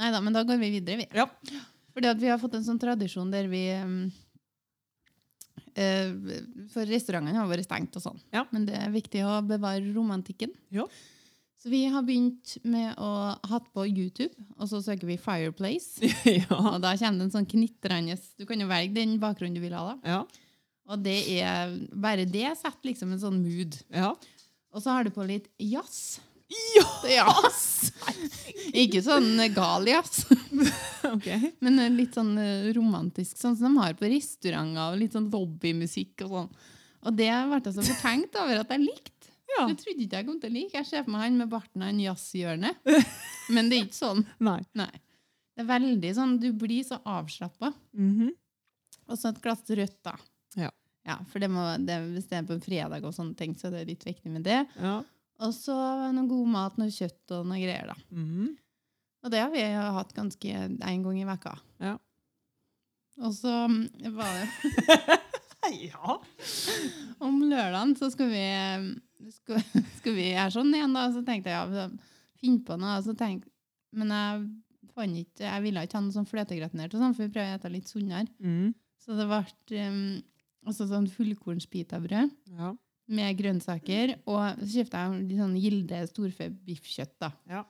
Nei da, men da går vi videre, vi.
Ja.
Fordi at vi har fått en sånn tradisjon der vi um, eh, For restaurantene har vært stengt og sånn.
Ja.
Men det er viktig å bevare romantikken.
Ja.
Så vi har begynt med å hatt på YouTube, og så søker vi Fireplace.
ja.
Og da kommer det en sånn knitrende Du kan jo velge den bakgrunnen du vil ha. da.
Ja.
Og det er, bare det setter liksom en sånn mood.
Ja.
Og så har du på litt jazz.
Ja!
Ja. Ikke sånn gal jazz.
Ok.
Men eh, litt sånn eh, romantisk, sånn som de har på restauranter, og litt sånn lobbymusikk og sånn. Og det ble jeg så fortenkt over at jeg likte.
Ja.
Det trodde ikke jeg kom til å like. Jeg ser for meg han med barten og en jazzhjørne. Men det er ikke sånn.
Nei.
Nei. Det er veldig sånn, du blir så avslappa.
Mhm.
Og så et glass rødt, da.
Ja.
Ja, for det må, det, hvis det er på en fredag og sånne ting, så er det litt viktig med det.
Ja.
Og så noe god mat, noe kjøtt og noe greier, da.
Mhm.
Og det har vi jo hatt ganske en gang i vekka.
Ja.
Og så mm, var det
Ja.
om lørdagen, så skulle vi, skulle, skulle vi gjøre sånn igjen, da. Så tenkte jeg ja, vi skal finne på noe. og Så tenk, men jeg fant ikke, jeg ville ikke ha noe sånn fløtegratinert, og sånn, for vi prøver å spise litt sunnere.
Mm.
Så det ble um, også sånn fullkornspitabrød
Ja.
med grønnsaker. Og så kjøpte jeg litt sånn Gilde storfebiffkjøtt, da.
Ja.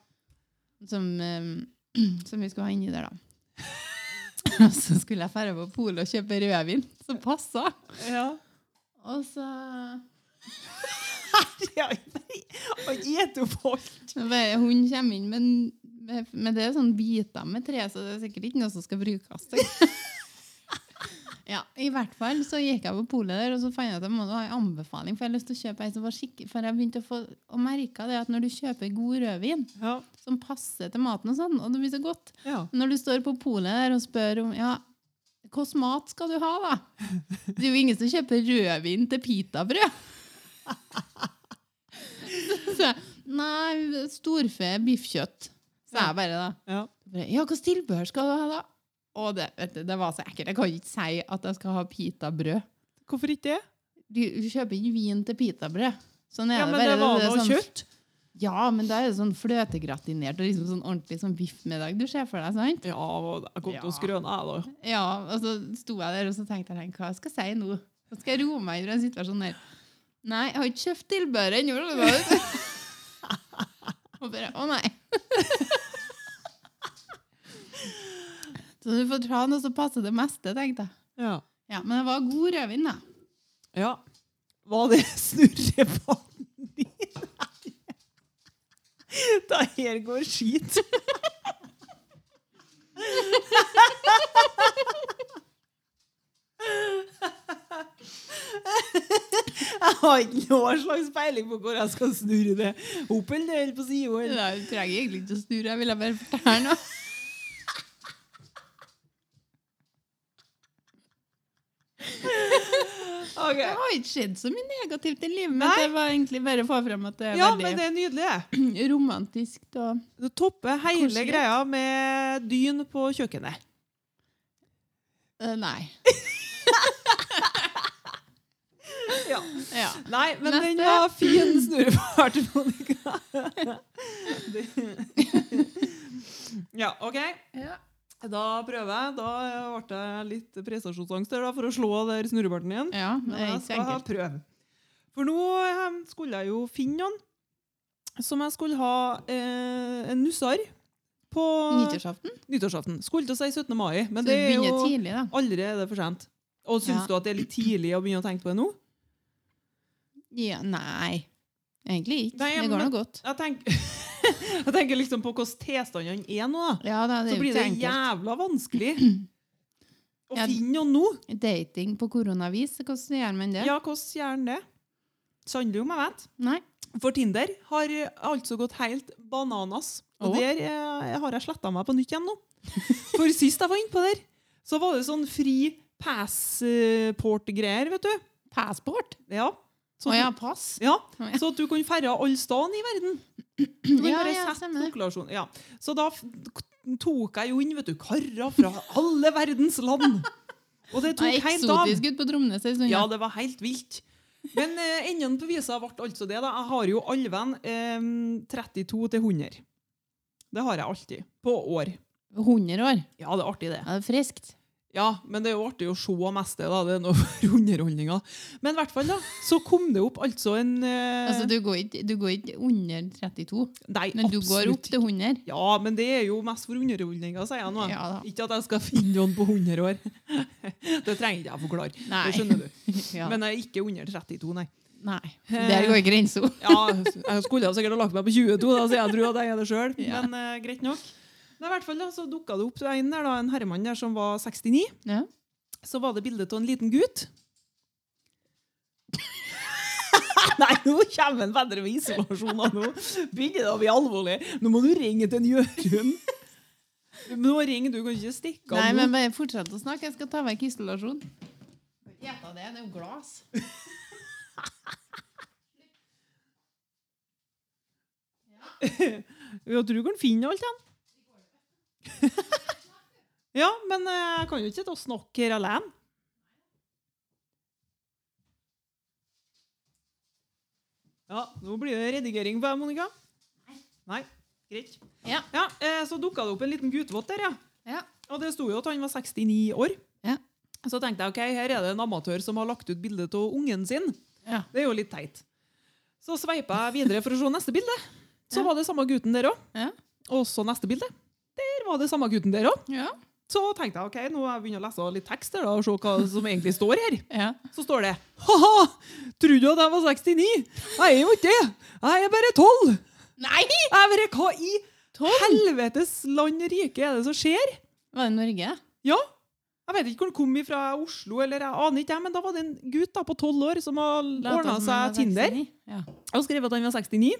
Som, um, som vi skulle ha inni der, da. og så skulle jeg dra på polet og kjøpe rødvin som passa.
ja.
Og så
ja. Og gjett opp alt.
så bare Hun kommer inn med, en- med, med det er sånn biter med tre, så det er sikkert ikke noe som skal brukes. tenker jeg. ja, I hvert fall så gikk jeg på polet der, og så fant jeg at jeg måtte ha en anbefaling. For jeg har lyst til å kjøpe en som var skikkelig For jeg begynte å få og merket det at når du kjøper god rødvin
Ja.
som passer til maten, og sånn, og det blir så godt
Ja.
Når du står på polet der og spør om ja, Hvilken mat skal du ha, da? Det er jo ingen som kjøper rødvin til pitabrød. Så jeg, Nei, storfe, biffkjøtt. Så jeg bare da.
ja.
bare, Ja, hvilket tilbehør skal du ha, da? Og det, vet du, det var så ekkelt. Jeg kan ikke si at jeg skal ha pitabrød.
Hvorfor ikke det?
Du kjøper ikke vin til pitabrød. Sånn er
Ja,
det
men
bare.
det var
er
noe
sånn-
kjøtt.
Ja, men da er det sånn fløtegratinert og liksom sånn ordentlig sånn biffmiddag du ser for deg. sant?
Ja, og jeg kom til å
Ja.
skrøne, jeg, da.
Ja, og så sto jeg der og så tenkte jeg, hva skal jeg si nå? Hva skal jeg roe meg inn i den situasjonen her? Nei, jeg har ikke kjøpt tilbehør ennå. eller hva det var. Og bare, å nei. Så du får ta noe som passer det meste, tenkte jeg.
Ja.
Ja, Men det var god rødvin, da.
ja. Var det snurrepannen din? Det her går skit. Jeg har ikke noe slags peiling på hvor jeg skal snurre det opp eller ned på siden.
Da trenger jeg egentlig ikke å snurre, jeg ville bare fortelle noe.
Ok.
Det har ikke skjedd så mye negativt i livet mitt.
Nei.
Det var egentlig bare å få frem at det er
Ja, men
veldig
det er nydelig. det.
romantisk. Og
Du topper hele
Koselig.
greia med dyn på kjøkkenet.
Eh, nei. Ja.
Nei, men
Neste.
den var fin snurrefart, Monica. ja, OK.
ja.
Da prøver jeg. Da ble jeg litt prestasjonsangst der da, for å slå der snurrebarten igjen.
Ja, det
Men
er
jeg
ikke så
skal
enkelt.
prøve. For nå eh, skulle jeg jo finne noen som jeg skulle ha eh, en nussar på
Nyttårsaften?
nyttårsaften. Skulle til å si 17. mai, men
Så
det
det
er
begynner
jo
tidlig, da.
Aldri er det for sent. Og syns
Ja.
du at det er litt tidlig å begynne å tenke på det nå?
Ja, nei. Egentlig ikke.
Nei,
det
men-
går nå godt.
Jeg tenker, jeg tenker liksom på hvordan tilstandene er nå. da.
Ja, da, det er
Så
jo
blir
ikke
det
enkelt.
jævla vanskelig å
Ja.
finne noen nå.
Dating på koronavis, hvordan gjør man det?
Ja, hvordan gjør den det? Sannelig om jeg vet.
Nei.
For Tinder har eh, altså gått helt bananas. Og
Å?
der eh, har jeg sletta meg på nytt igjen nå. For sist jeg var inne på der, så var det sånn fri passport-greier, vet du.
Passport?
Ja.
Å
Sånn-
ja, pass.
Ja,
Å ja.
så at du kan ferde alle stedene i verden. Du kan
Ja,
bare
ja,
sette
stemmer det.
konklusjon. Ja. Så da f- k- tok jeg jo inn vet du, karer fra alle verdens land. Og det
Nei,
tok helt av.
eksotisk ut på Tromnes. ei stund,
Ja,
Ja.
det var helt vilt. Men eh, enden på visa ble altså det. da. Jeg har jo alven eh, 32 til 100. Det har jeg alltid. På år.
100 år.
Ja, det er artig, det.
Ja, det er friskt.
Ja, men det er jo artig å se mest det, da. Det er noe for underholdninga. Men i hvert fall, da, så kom det opp altså en eh,
Altså, du går, ikke, du går ikke under 32,
Nei,
men du går opp
absolutt
til 100.
Ja, men det er jo mest for underholdninga, sier jeg nå.
Ja da.
Ikke at jeg skal finne noen på 100 år. Det trenger ikke jeg forklare.
Nei.
Det skjønner du.
Ja.
Men Eh. jeg er ikke under 32, nei.
Nei. Der går grensa.
Ja, jeg skulle jo sikkert ha lagt meg på 22, da, så jeg tror at jeg er det sjøl.
Ja.
Men eh, greit nok. Nei, i hvert fall da, så dukka det opp en, der, da, en herremann der som var 69.
Ja.
Så var det bilde av en liten gutt. Nei, nå kommer han bedre med isolasjon. og Nå begynner det å bli alvorlig. Nå må du ringe til en Jørund. Du må ringe, du kan ikke stikke av
Nei,
nå.
men bare fortsett å snakke. Jeg skal ta vekk isolasjon. Gjeta det. Det er jo glass.
Jeg tror du kan finne alt igjen. ja, men eh, jeg kan jo ikke sitte og snakke her alene. Ja, nå blir det redigering på deg, Monica. Nei. Greit.
Ja.
eh, så dukka det opp en liten guttevott der, ja.
Ja.
Og det sto jo at han var 69 år.
Ja.
Så tenkte jeg ok, her er det en amatør som har lagt ut bilde av ungen sin.
Ja.
Det er jo litt teit. Så sveipa jeg videre for å se neste bilde. Så
Ja.
var det samme gutten der òg.
Ja.
Og så neste bilde. Der var det samme gutten der òg.
Ja.
Så tenkte jeg ok, nå har jeg begynt å lese litt tekst her da, og se hva som egentlig står her.
Ja.
Så står det ha-ha, tror du at jeg var 69? Jeg er jo ikke det. Jeg er bare 12.
Nei!
Jeg bare, hva i
Tolv?
helvetes land og rike er det som skjer?
Var det Norge?
Ja. Jeg vet ikke hvor han kom ifra, Oslo, eller jeg aner ikke, jeg, men da var det en gutt da, på tolv år som har
Lata
ordna
som
seg
jeg var
Tinder
69. Ja.
og skrev at han var 69.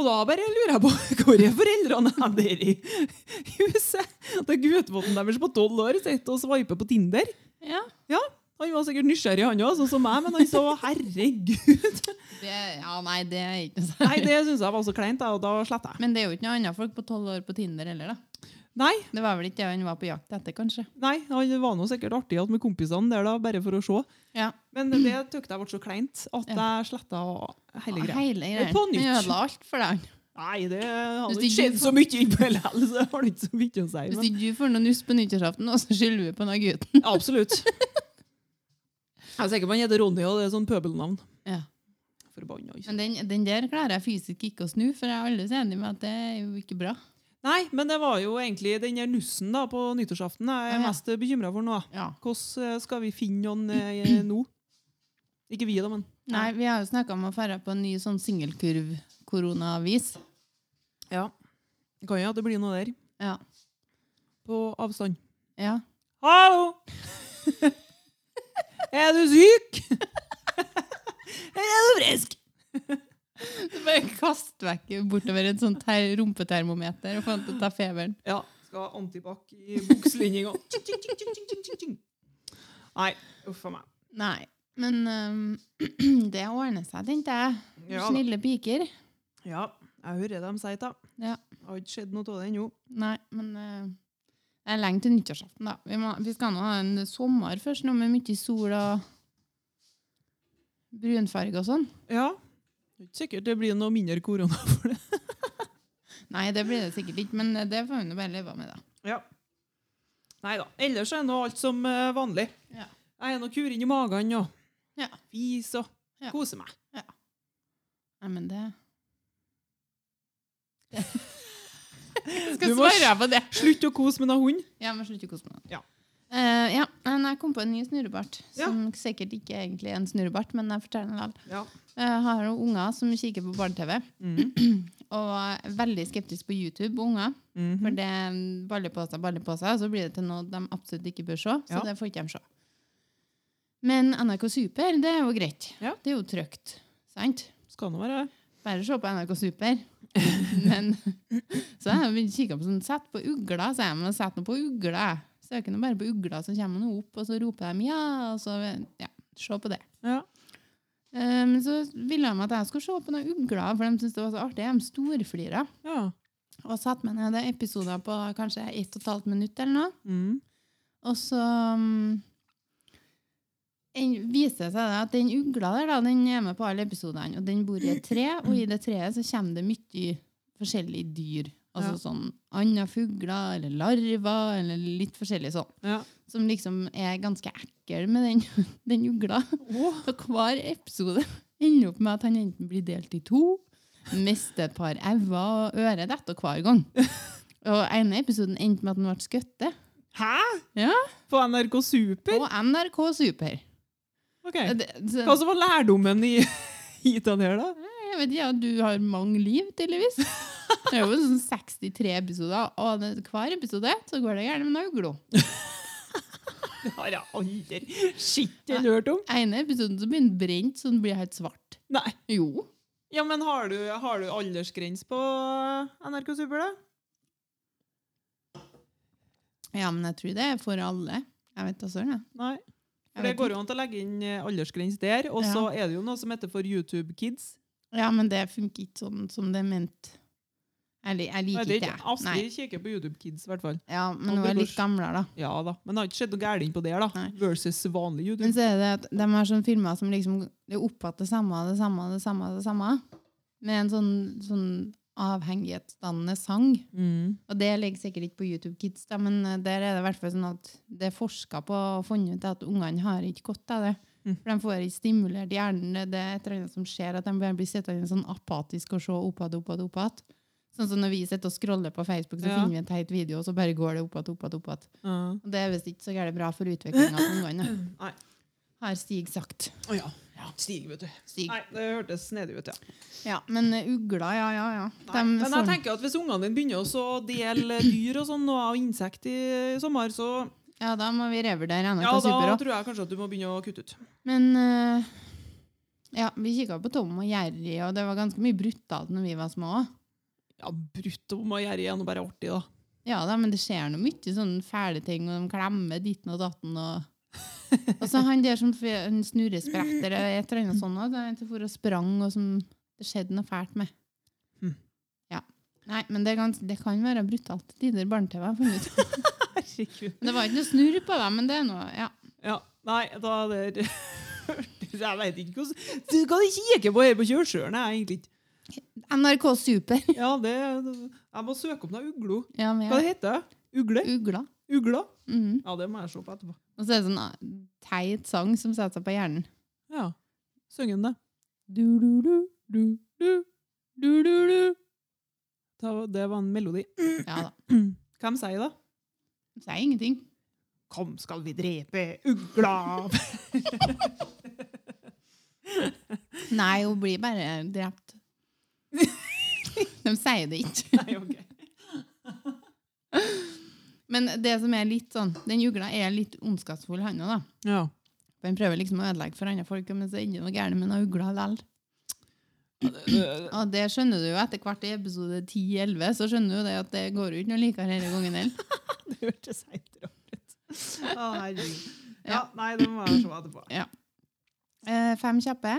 Og da bare lurer jeg på hvor er foreldrene hen der i huset? Det er guttvotten deres på tolv år sitter og sveiper på Tinder.
ja.
Han var sikkert nysgjerrig, han òg, sånn som meg, men han sa herregud.
Det, ja, nei, det er ikke noe
Nei,
særlig.
det syns jeg var så kleint, da, og da sletter jeg.
Men det er jo ikke noe annet folk på tolv år på Tinder heller, da.
Nei,
Det var vel ikke det han var på jakt etter, kanskje.
Nei, han var nå sikkert artig at med kompisene der, da, bare for å se.
Ja.
Men det tykte jeg ble så kleint at
Ja.
jeg sletta hele greia.
Hele greia.
På nytt.
Han ødela alt for deg.
Nei, det hadde
Hvis
ikke
det
skjedd så mye innpå likevel, så har det ikke så mye å si.
Hvis
Men,
ikke du får noe nuss på nyttårsaften, nå, så skylder vi på den gutten.
absolutt. Jeg er sikker på han heter Ronny, og det er sånn pøbelnavn.
Ja.
Forbanna. altså.
Men den, den der klarer jeg fysisk ikke å snu, for jeg er alle så enig med at det er jo ikke bra.
Nei, men det var jo egentlig den der nussen da, på nyttårsaften jeg
Ah,
er
ja.
mest bekymra for nå. da.
Ja.
Hvordan eh, skal vi finne noen eh, nå? Ikke vi, da, men
Nei, vi har jo snakka om å dra på en ny sånn singelkurv-koronavis.
Ja. Det kan jo at det blir noe der.
Ja.
På avstand.
ja.
Hallo! er du syk? Eller er du frisk?
Du bare kast vekk bortover et sånt her rumpetermometer og få han til å ta feberen.
Ja, skal ha antibac i bukslinninga. Tjing, tjing, tjing, tjing, tjing, tjing, tjing. Nei, uff a meg.
Nei. Men øhm, det ordner seg, tenkte jeg.
Ja, da.
Snille piker.
ja, jeg hører dem si det.
Ja.
Har ikke skjedd noe av det ennå.
Nei, men øh, det er lenge til nyttårsaften, da. Vi, må, vi skal nå ha en sommer først, nå med mye sol og brunfarge og sånn.
Ja. Det er ikke sikkert det blir noe mindre korona for det.
Nei, det blir det sikkert ikke, men det får vi nå bare leve med, da.
Ja. Nei da. Ellers er nå alt som eh, vanlig.
Ja.
Jeg er nå kur inni magen og
Ja.
fis og
Ja.
koser meg.
Nei, men det Jeg skal
Du må
svare på det.
Slutt å kose med noen hund.
Ja, men slutt å kose meg.
Ja.
Eh, ja, men jeg kom på en ny snurrebart,
Ja.
som sikkert ikke er egentlig en snurrebart, men jeg forteller den likevel. Eh,
Ja.
Jeg har noen unger som kikker på barne-TV,
Mm.
og er veldig skeptisk på YouTube og unger.
Mhm.
For det er baller på seg, baller på seg, og så blir det til noe de absolutt ikke bør se. Så
Ja.
det får ikke de se. Men NRK Super, det er jo greit.
Ja.
Det er jo trygt. Sant?
Skal nå være
Bare se på NRK Super. Men så har jeg begynt å kikke på sånn Sett på ugla, sier jeg. Men sett nå på ugla. Søker nå bare på ugla, så kommer nå opp, og så roper de ja, og så Ja, se på det.
Ja.
Eh, Men så ville de at jeg skulle se på noen ugler, for de syntes det var så artig. De storflira.
ja.
Og satte meg ned det er episoder på kanskje ett og et halvt minutt eller noe.
Mm.
Og så mm, en- viser det seg da at den ugla der, da, den er med på alle episodene. Og den bor i et tre, og i det treet så kommer det mye forskjellige dyr. Altså
Ja.
sånn andre fugler, eller larver, eller litt forskjellig sånn.
Ja.
Som liksom er ganske ekkel med den, den ugla.
Åh,
Så hver episode ender opp med at han enten blir delt i to, mister et par øyne og øret detter hver gang. Og ene episoden endte med at han ble skutt.
Hæ?
Ja.
På NRK Super?
På NRK Super.
Ok.
Det, så,
Hva som var lærdommen i hit og her, da?
jeg vet ikke, ja, du har mange liv, tydeligvis. Det er jo sånn 63 episoder, og det, hver episode så går det gjerne med en uglo.
Det har jeg aldri skitt eller hørt om.
ene episoden så blir han brent, så han blir helt svart.
Nei.
Jo.
Ja, men har du, har du aldersgrense på eh, NRK Super, da?
Ja, men jeg tror det er for alle. Jeg vet da søren, jeg.
Nei.
Jeg
For det
vet
går jo an til å legge inn eh, aldersgrense der. Og så er det jo noe som heter for YouTube Kids.
Ja, men det funker ikke sånn som det er ment. Jeg, li- jeg
Jeg
liker
vet
ikke
ikke.
det. Nei.
Astrid kikker på YouTube Kids, i hvert fall.
Ja, men nå er jeg litt gamlere, da.
Ja da. Men det har ikke skjedd noe gærent på det, da.
Nei.
Versus vanlig
Men
YouTube.
så er det at de har sånne filmer som liksom det er opphatt det samme, det samme, det samme, det samme. Med en sånn, sånn avhengighetsdannende sang.
Mm.
Og det ligger sikkert ikke på YouTube Kids, da, men eh, der er det i hvert fall sånn at det er forska på og funnet ut at ungene har ikke godt av det.
Mm.
For de får ikke stimulert hjernen. Det er et eller annet som skjer, at de bare blir sittende sånn apatisk og se oppad, oppad, oppad. Sånn som når vi sitter og scroller på Facebook, så
Ja.
finner vi en teit video, og så bare går det oppad, oppad, oppad.
Ja.
Og det er visst ikke så gærent bra for utviklinga til ungene,
Nei.
har Stig sagt.
Å ja. Stig, vet du.
Stig.
Nei, det hørtes snedig ut, ja.
Ja, men eh, ugler, ja, ja, ja.
Nei.
De
Men jeg
får-
tenker at hvis ungene dine begynner også å dele dyr og sånn, og insekt i sommer, så
ja, da må vi revurdere NRK
ja, da
Super òg.
tror jeg kanskje at du må begynne å kutte ut.
Men eh, ja, vi kikka på Tom og Jerry, og det var ganske mye brutalt når vi var små. også.
Ja, brutt om å gjøre igjen og bare artig, da.
Ja da, men det skjer noe mye sånne fæle ting, og de klemmer ditten og datten. og... og så han der som f- en snurresprekter eller et eller annet sånt, også, det er en som for og sprang, og som det skjedde noe fælt med.
Hmm.
Ja. Nei, men det kan, det kan være brutalt til tider barne-TV. har funnet ut.
Herregud.
Men Det var ikke noe snurr på dem, men det er noe ja.
Ja, nei, da er det Jeg veit ikke hvordan Du kan ikke kikke på her på kjørsjøen, jeg egentlig ikke.
NRK Super.
Ja, det Jeg må søke opp noe uglo.
Ja, men
Hva
ja.
det heter det? Ugle?
Ugla.
Ugla?
Mhm.
Ja, det må jeg se på etterpå.
Og så er det sånn ah, teit sang som setter seg på hjernen.
Ja. Syng den, da.
Du, du, du, du.
Du, du, du, du. Da, det var en melodi.
Ja da.
Hvem sier det?
De sier ingenting.
Kom, skal vi drepe ugla!
Nei, hun blir bare drept. De sier det ikke.
Nei, ok.
Men det som er litt sånn, den jugla er litt ondskapsfull, han òg, da.
Ja.
For Han prøver liksom å ødelegge for andre folk, men så er det ikke noe gærent med den ugla likevel. Og det skjønner du jo etter hvert i episode 10-11, så skjønner du det at det går jo ikke noe likere denne gangen heller.
Det hørtes helt rart ut. Å, herregud. Ja,
Ja.
nei, det må jeg se etterpå.
Eh, fem kjappe.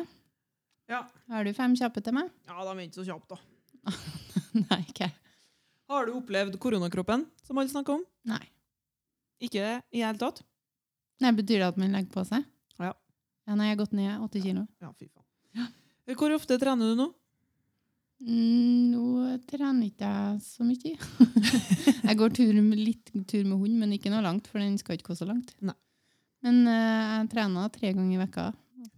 Ja.
Har du fem kjappe til meg?
Ja, de er ikke så kjappe, da.
Nei, ikke
Har du opplevd koronakroppen, som alle snakker om?
Nei.
Ikke i det hele tatt?
Nei, Betyr det at man legger på seg?
Ja.
ja nei, jeg har gått ned åtte kilo.
Ja, fy faen. Hvor ofte trener du nå?
Mm, nå trener ikke jeg så mye. jeg går tur med, litt tur med hund, men ikke noe langt, for den skal ikke gå så langt.
Nei.
Men eh, jeg trener tre ganger i vekka,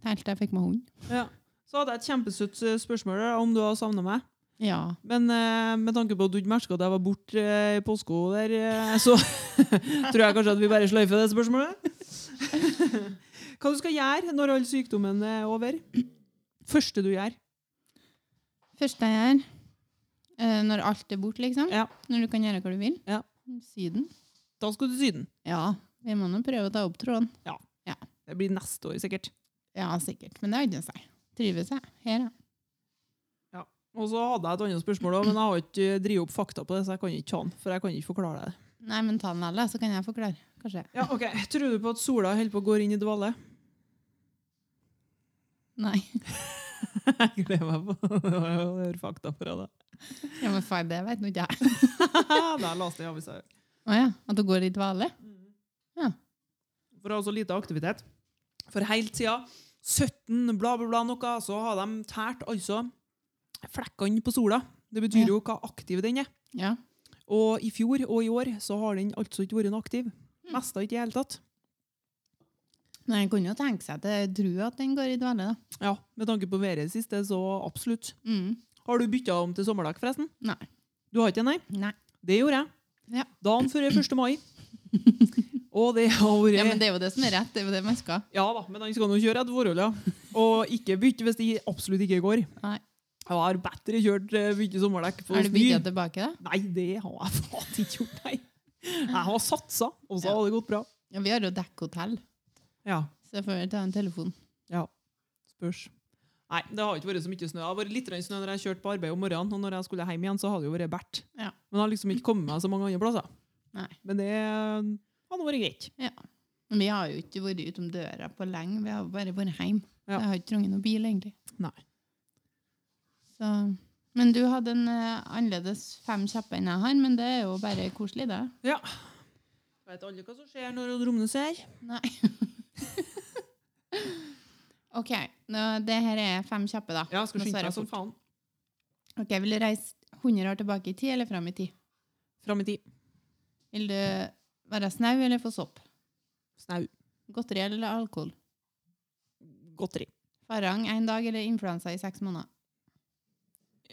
helt til jeg fikk meg hund.
Ja. Så hadde jeg et kjempesøtt eh, spørsmål der, om du har savna meg.
Ja.
Men eh, med tanke på at du ikke merka at jeg var borte eh, i påska der, eh, så tror jeg kanskje at vi bare sløyfer det spørsmålet. Hva du skal gjøre når all sykdommen er over? Første du gjør?
Første jeg gjør, eh, når alt er borte, liksom,
Ja.
når du kan gjøre hva du vil,
Ja.
Syden.
Da skal du til Syden.
Ja, vi må nå prøve å ta opp tråden.
Det blir neste år, sikkert.
Ja, sikkert, men det har ikke noe å si. Trives jeg her, ja.
Og så hadde jeg et annet spørsmål, også, men jeg har ikke eh, drevet opp fakta på det, så jeg kan ikke ta den. For jeg kan ikke forklare deg det.
Nei, men ta den vel, da, så kan jeg forklare, kanskje.
Ja, ok. Tror du på at sola holder på å gå inn i dvale?
Nei,
Jeg gleder meg på å høre fakta fra deg.
ja, men faen, det vet nå ikke jeg.
Det er last i avisa.
Å ja, at hun går i dvale?
For det er også lite aktivitet. For helt siden 17 bla, bla, bla noe, så har de tært altså flekkene på sola. Det betyr
Ja.
jo hva aktiv den er.
Ja.
Og i fjor og i år så har den altså ikke vært noe aktiv.
Mm.
Mest ikke i hele tatt.
Nei, jeg kunne jo tenke seg at jeg tror at den går i dvale, da.
Ja, med tanke på været sist, det er så absolutt.
Mm.
Har du byttet om til sommerdekk forresten?
Nei.
Du har ikke det, nei?
Nei.
Det gjorde jeg.
Ja.
Dagen før 1. mai. Og det har vært...
Ja, men det er jo det som er rett, det er jo det man skal.
Ja da, men han skal nå kjøre et forhold, ja. Og ikke bytte hvis det absolutt ikke går.
Nei.
Jeg har bedre kjørt eh, bytte sommerdekk på
Er det
snø.
bytta tilbake, da?
Nei, det har jeg faen ikke gjort, nei. Jeg har satsa, og så
Ja.
har det gått bra.
Ja, vi har jo dekkhotell,
Ja,
så jeg får vel ta en telefon.
spørs. Nei, det har ikke vært så mye snø. Det har vært litt grann snø når jeg kjørte på arbeid om morgenen, og når jeg skulle hjem igjen, så har det jo vært bært.
Ja.
Men jeg har liksom ikke kommet meg så mange andre plasser.
Nei.
Men det eh, hadde vært greit.
Men vi har jo ikke vært utom døra på lenge, vi har bare vært hjemme.
Ja.
Så Jeg har ikke trengt noen bil, egentlig.
Nei.
Så. Men du hadde en eh, annerledes fem kjappe enn jeg har, men det er jo bare koselig, det.
Vet alle hva som skjer når dromene ser?
Nei. OK, nå, det her er fem kjappe, da.
Ja, jeg skal
Nå
skynde
svarer jeg
meg som faen.
Ok, jeg vil reise 100 år tilbake i tid eller fram i tid?
Fram i tid.
Vil du være snau eller få sopp?
Snau.
Godteri eller alkohol?
Godteri.
Farang én dag eller influensa i seks måneder?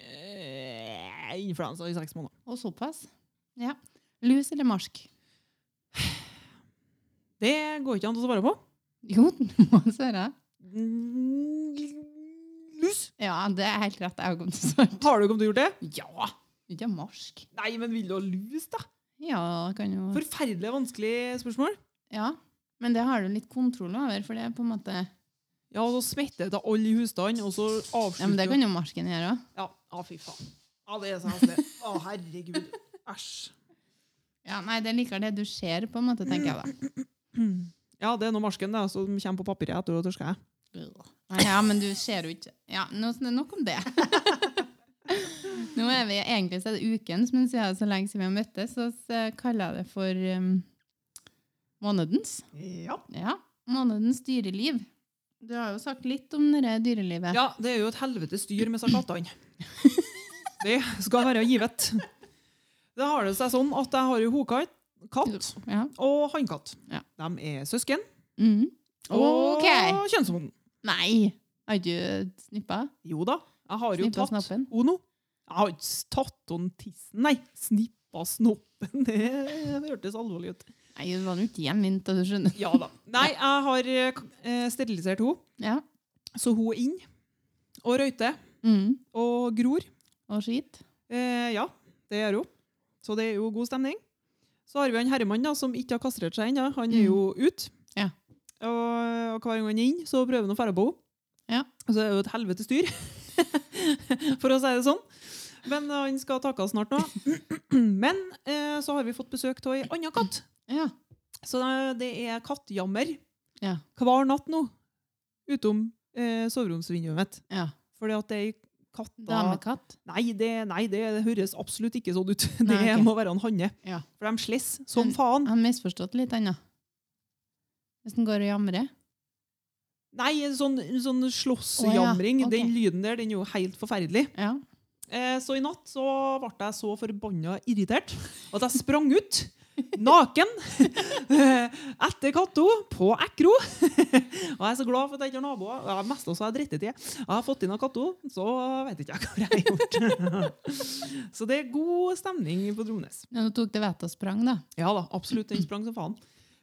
Eh, influensa i seks måneder.
Og såpass. Ja. Lus eller marsk?
Det går ikke an å svare på.
Jo, den må svare.
Mm, Lus!
Ja, det er helt rett. Jeg kom til å svare.
Har du kommet til å gjort det?
Ja! Ikke marsk.
Nei, men vil du ha lus, da?
Ja, kan jo
Forferdelig vanskelig spørsmål.
Ja. Men det har du litt kontroll over, for det er på en måte
Ja, og så smitter det til alle i husstanden, og så avslutter
Ja, men det kan jo marsken gjøre òg.
Ja, ah, fy faen. Ja, det er så heslig. Å, herregud. Æsj.
Ja, nei, det er likevel det du ser, på en måte, tenker jeg da.
Ja, det er nå marsken da, som kommer på papiret etter å tørske.
Nei, Ja, men du ser jo ikke Ja, nå, nok om det. Nå er vi egentlig så er det ukens, men siden det er så lenge siden vi har møttes, så eh, kaller jeg det for um, månedens.
Ja.
Ja. Månedens dyreliv. Du har jo sagt litt om det der dyrelivet.
ja, det er jo et helvete styr med seg kattene. Det skal være givet. Det har det seg sånn at jeg har jo hokatt, katt
Ja.
og hannkatt.
Ja.
De er søsken
Mhm.
og
Ok.
kjønnsmoden.
Nei! Har du snippa?
Jo da, jeg har jo
Snippa
tatt
snoppen?
Ono. Jeg har ikke tatt on tissen, nei. Snippa snoppen. Det hørtes alvorlig ut.
Nei, det var jo ikke hjemvendt, og du skjønner.
Ja da. Nei, jeg har eh, k- eh, sterilisert henne,
Ja.
så hun er inn. Og røyter.
Mhm.
Og gror.
Og skit.
Eh, ja, det gjør hun. Så det er jo god stemning. Så har vi han Herman, da, som ikke har kastrert seg ennå. Han er
Mm.
jo ute.
Ja.
Og, og hver gang han er inn, så prøver han å ferde på henne.
Ja.
Og så er det jo et helvete styr, for å si det sånn. Men han skal takkes snart nå. Men eh, så har vi fått besøk av ei anna katt.
Ja.
Så det- det er kattjammer
Ja.
hver natt nå, utom eh, soveromsvinduet mitt.
ja.
Fordi at det er ei katt da-
Damekatt.
Nei, det, nei, det høres absolutt ikke sånn ut. Det
Nei, ok.
må være en hanne.
Ja.
For de sless som
Men-
faen.
Jeg har misforstått litt ennå. Hvis den går og jamrer.
Nei, en sånn, en sånn slåssjamring.
Å, ja, ok.
Den lyden der, den er jo helt forferdelig.
Ja.
Eh, så i natt så ble jeg så forbanna irritert at jeg sprang ut. Naken. eh, Etter katta. På Ekro. Og jeg er så glad for at jeg ikke har naboer. Ja, mest også har jeg dritt til. Jeg har fått inn av katta, så vet ikke jeg hva jeg har gjort. Så det er god stemning på Dromnes.
Ja, Nå tok det vettet og sprang, da.
Ja da, absolutt. Den sprang som faen.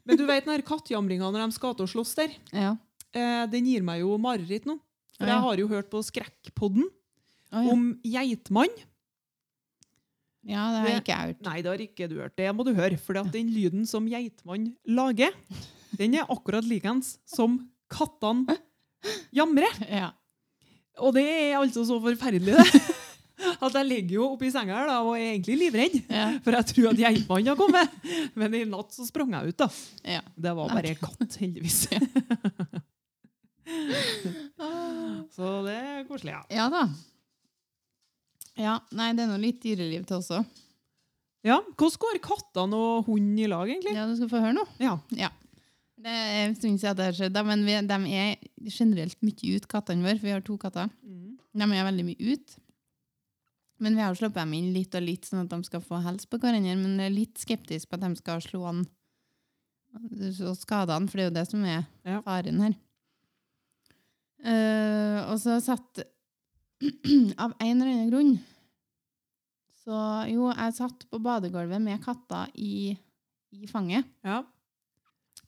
Men du vet den her kattjamringa når de skal til å slåss der?
Ja.
Eh, den gir meg jo mareritt nå. For
Ja.
jeg har jo hørt på Skrekkpodden
Å, ja.
om geitmann.
ja, det har
Det-
ikke jeg hørt.
Nei, det har ikke du hørt. Det må du høre. For den lyden som geitmann lager, den er akkurat likens som kattene jamrer.
Ja.
Og det er altså så forferdelig, det. At jeg ligger jo oppi senga her da, og er egentlig livredd.
Ja.
For jeg tror at geitmannen har kommet. Men i natt så sprang jeg ut, da.
ja.
Det var bare katt, heldigvis. Så det er koselig, ja.
Ja da. Ja, nei, det er nå litt dyreliv til også.
ja. Hvordan går kattene og hunden i lag, egentlig?
Ja, du skal få høre nå.
Ja.
Ja. Det er en stund siden det har skjedd, da, men vi, de er generelt mye ut, kattene våre. for Vi har to katter.
Mm.
De er veldig mye ut. Men vi har sluppet dem inn litt og litt, sånn at de skal få helse på hverandre. Men jeg er litt skeptisk på at de skal slå an og skade han, for det er jo det som er
Ja.
faren her. Eh, og så satt Av en eller annen grunn Så jo, jeg satt på badegulvet med katta i, i fanget.
Ja.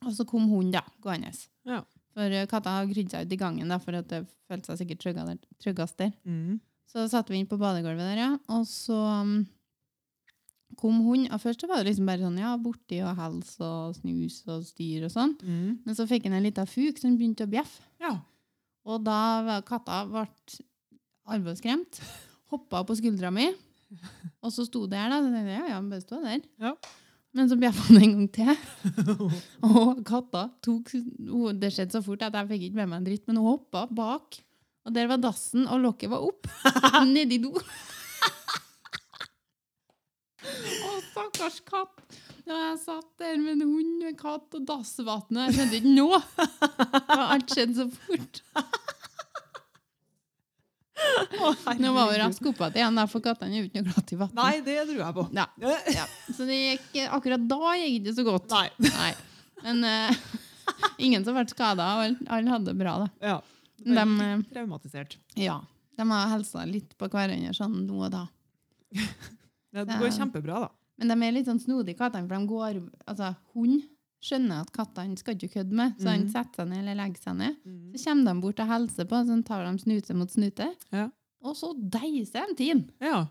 Og så kom hun da, gående.
Ja.
For eh, katta har krydd seg ut i gangen, da, for at det følte seg sikkert trygga der- tryggest der.
Mm.
Så satte vi inn på badegulvet der, ja. Og så mm, kom hun, og først så var det liksom bare sånn, ja, borti og hals og snus og styr og sånn.
Mm.
Men så fikk han en liten fuk, så han begynte å bjeffe.
ja.
Og da var katta ble alvorskremt, hoppa på skuldra mi, og så sto det her, da. Så tenkte jeg, ja, ja, bare stå der.
Ja.
Men så bjeffa han en gang til. Og katta tok hun- Det skjedde så fort at jeg fikk ikke med meg en dritt, men hun hoppa bak. Og der var dassen, og lokket var opp. Nedi do. Å, stakkars katt. Ja, jeg satt der med en hund, med katt og dassvannet. Jeg skjønte ikke noe. Det har Alt skjedde så fort. Nå var hun raskt opp igjen, da, for kattene er jo ikke noe glad i vann.
Nei, det tror jeg på.
Ja, ja. Så det gikk, akkurat da gikk det så godt.
Nei.
Nei. Men eh, ingen som ble skada, og alle- alle hadde det bra. da.
Ja.
De, eh,
Traumatisert.
ja, de har helsa litt på hverandre sånn nå og da.
Det går kjempebra, da.
Men de er litt sånn snodige, kattene, for de går Altså, hund skjønner at kattene skal ikke kødde med, så han
Mhm.
setter seg ned eller legger seg ned. Så kommer de bort og hilser på, så tar de snute mot snute,
Ja.
og så deiser de til.
Ja.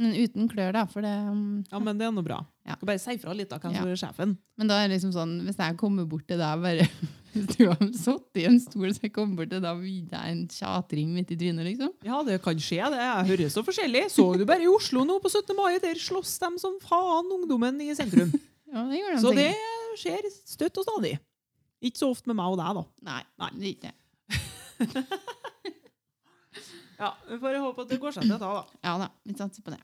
Men uten klør, da, for det um,
ja, men det er nå bra.
Ja.
Skal bare si fra litt, da, hvem som
Ja.
er sjefen.
Men da er det liksom sånn, hvis jeg kommer bort til deg bare Hvis du har satt i en stol, så jeg kommer bort til deg og gir deg en tjatring midt i trynet, liksom.
Ja, det kan skje. det Jeg hører så forskjellig. Så du bare i Oslo nå på 17. mai? Der slåss de som faen, ungdommen i sentrum.
Ja, det gjør de
Så det
sikkert.
skjer støtt og stadig. Ikke så ofte med meg og deg, da.
Nei,
Nei.
det er ikke det.
Ja, Vi får håpe at det går seg til å ta, da.
Ja da, vi satser på det.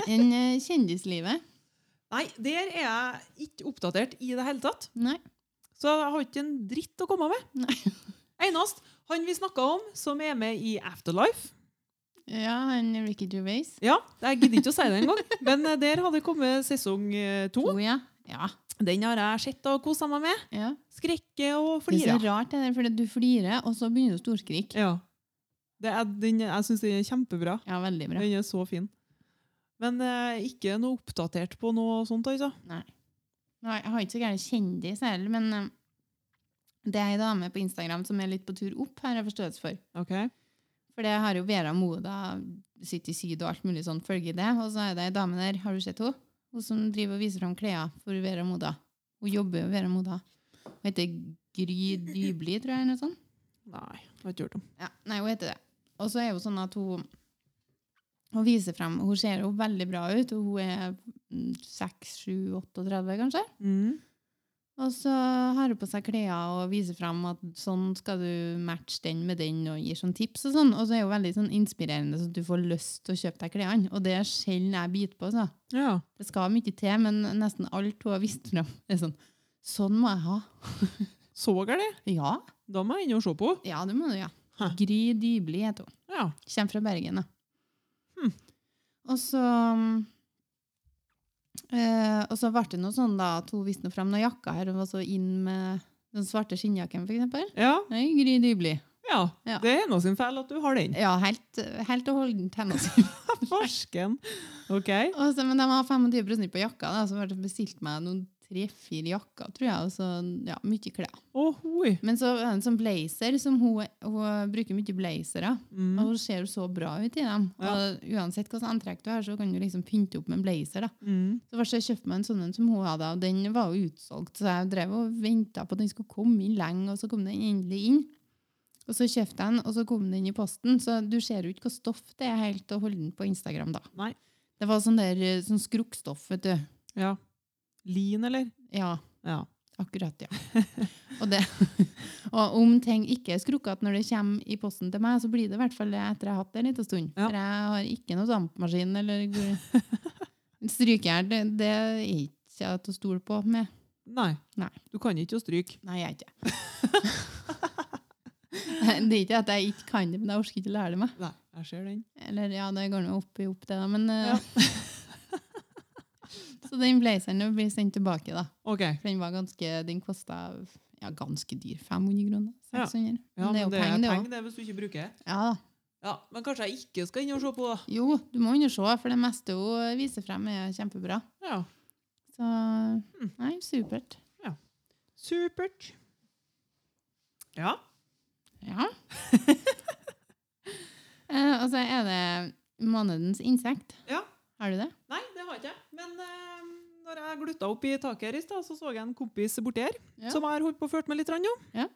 En eh, kjendislivet?
Nei, der er jeg ikke oppdatert i det hele tatt.
Nei.
Så jeg har ikke en dritt å komme med.
Nei.
Enest han vi snakka om, som er med i Afterlife.
Ja, han Ricky Gervais.
Ja, Jeg gidder ikke å si det engang, men eh, der har det kommet sesong eh, to.
Oh, ja. Ja.
Den har jeg sett og kosa meg med.
ja.
Skrekke og
Det er så
flira.
rart, det der, for du flirer, og så begynner du å storskrik.
Ja. Det er, den, jeg syns den er kjempebra.
Ja, veldig bra.
Den er så fin. Men eh, ikke noe oppdatert på noe sånt, altså.
Nå, jeg har ikke så gæren kjendis heller, men eh, det er ei dame på Instagram som er litt på tur opp, har jeg forståelse for.
Ok.
For det har jo Vera Moda, City Syd og alt mulig sånn følge det. Og så er det ei dame der, har du sett henne? Hun som driver og viser fram klær for Vera Moda. Hun jobber jo i Vera Moda. Hun heter Gry Dybli, tror jeg, eller noe sånt.
Nei, jeg har ikke hørt om.
Ja, nei, hun heter det. Og så er hun sånn at hun hun viser frem, hun ser jo veldig bra ut, og hun er 6-7-38 kanskje.
Mm.
Og så har hun på seg klær og viser frem at sånn skal du matche den med den, og gir sånn tips og sånn. Og så er hun veldig sånn inspirerende, så du får lyst til å kjøpe deg klærne. Og det er sjelden jeg biter på. Så.
Ja.
Det skal mye til, men nesten alt hun har vist frem, er sånn, sånn må jeg ha.
Så gæli?
Ja,
Da må jeg inn og se på.
ja, det må du, ja.
Hæ.
Gry Dybli heter hun.
Ja.
Kommer fra Bergen, da. Hm.
Hmm.
Og så mm, eh, Og så ble det noe sånn da, at hun viste noe frem noen jakker her, og var så inn med den svarte skinnjakken, for eksempel.
Ja.
Nei, Gry Dybli.
ja.
Ja.
Det er hennes sin feil at du har den.
Ja, helt, helt og holdent hennes. Og
Farsken. OK.
så- Altså, men de har 25 på jakka, da, så ble det bestilt meg noen tre-fire jakker, tror jeg, og så ja, mye klær.
Åh, hoi.
Men så er det en sånn blazer, som hun, hun bruker mye blazere.
Mm.
Og hun ser jo så bra ut i dem. Og uansett hvilket antrekk du har, så kan du liksom pynte opp med en blazer. da.
Mm.
Så først jeg kjøpte meg en sånn en som hun hadde, og den var jo utsolgt, så jeg drev og ventet på at den skulle komme inn lenge, og så kom den endelig inn. Og så kjøpte jeg den, og så kom den inn i posten, så du ser jo ikke hva stoff det er helt å holde den på Instagram da.
Nei.
Det var sånn der eh, sånn skrukkstoff, vet du.
Ja. Lin, eller?
Ja,
Ja.
akkurat, ja. og, det, og om ting ikke er skrukket når det kommer i posten til meg, så blir det i hvert fall det etter jeg har hatt det en liten stund.
Ja.
For jeg har ikke noe dampmaskin eller strykjern, det, det er ikke til å stole på med.
Nei.
Nei.
Du kan ikke å stryke.
Nei, jeg er ikke det. er ikke at jeg ikke kan det, men jeg orker ikke å lære det meg.
Nei, jeg ser den.
Eller ja, det går nå opp i opp, det, da, men eh,
Ja.
Så den blazeren blir sendt tilbake, da.
OK.
For den var ganske Den kosta ja, ganske dyr. 500 kroner?
Ja.
600?
Ja,
men det er jo penger, det òg.
det, hvis du ikke bruker det.
Ja da.
Ja, men kanskje jeg ikke skal inn og se på det.
Jo, du må underse, for det meste hun viser frem, er kjempebra.
Ja.
Så Nei, supert.
Supert. Ja.
Ja. Eh, og så er det månedens insekt.
Ja.
Har du det?
Nei, det har ikke jeg. Men eh, når jeg glutta opp i taket her i stad, så så jeg en kompis borti her
Ja.
som jeg har holdt på og ført med litt grann nå.
Ja.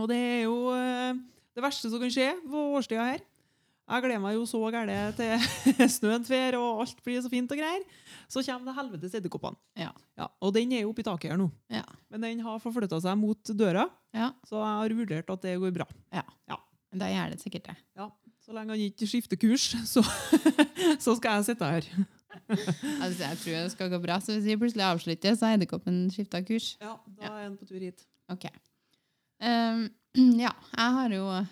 Og det er jo eh, det verste som kan skje på årstida her. Jeg gleder meg jo så gæle til snøen fer, og alt blir så fint og greier. Så kommer det helvetes edderkoppene.
Ja.
og den er jo oppi taket her nå.
Ja.
Men den har forflytta seg mot døra,
Ja.
så jeg har vurdert at det går bra.
Da gjør det sikkert det.
Så lenge han ikke skifter kurs, så, så skal jeg sitte her.
Altså, jeg tror det skal gå bra, så hvis vi plutselig avslutter, så har edderkoppen skifta kurs.
Ja, da er han på tur hit.
Ok. Um, ja, jeg Ehm, har jo jeg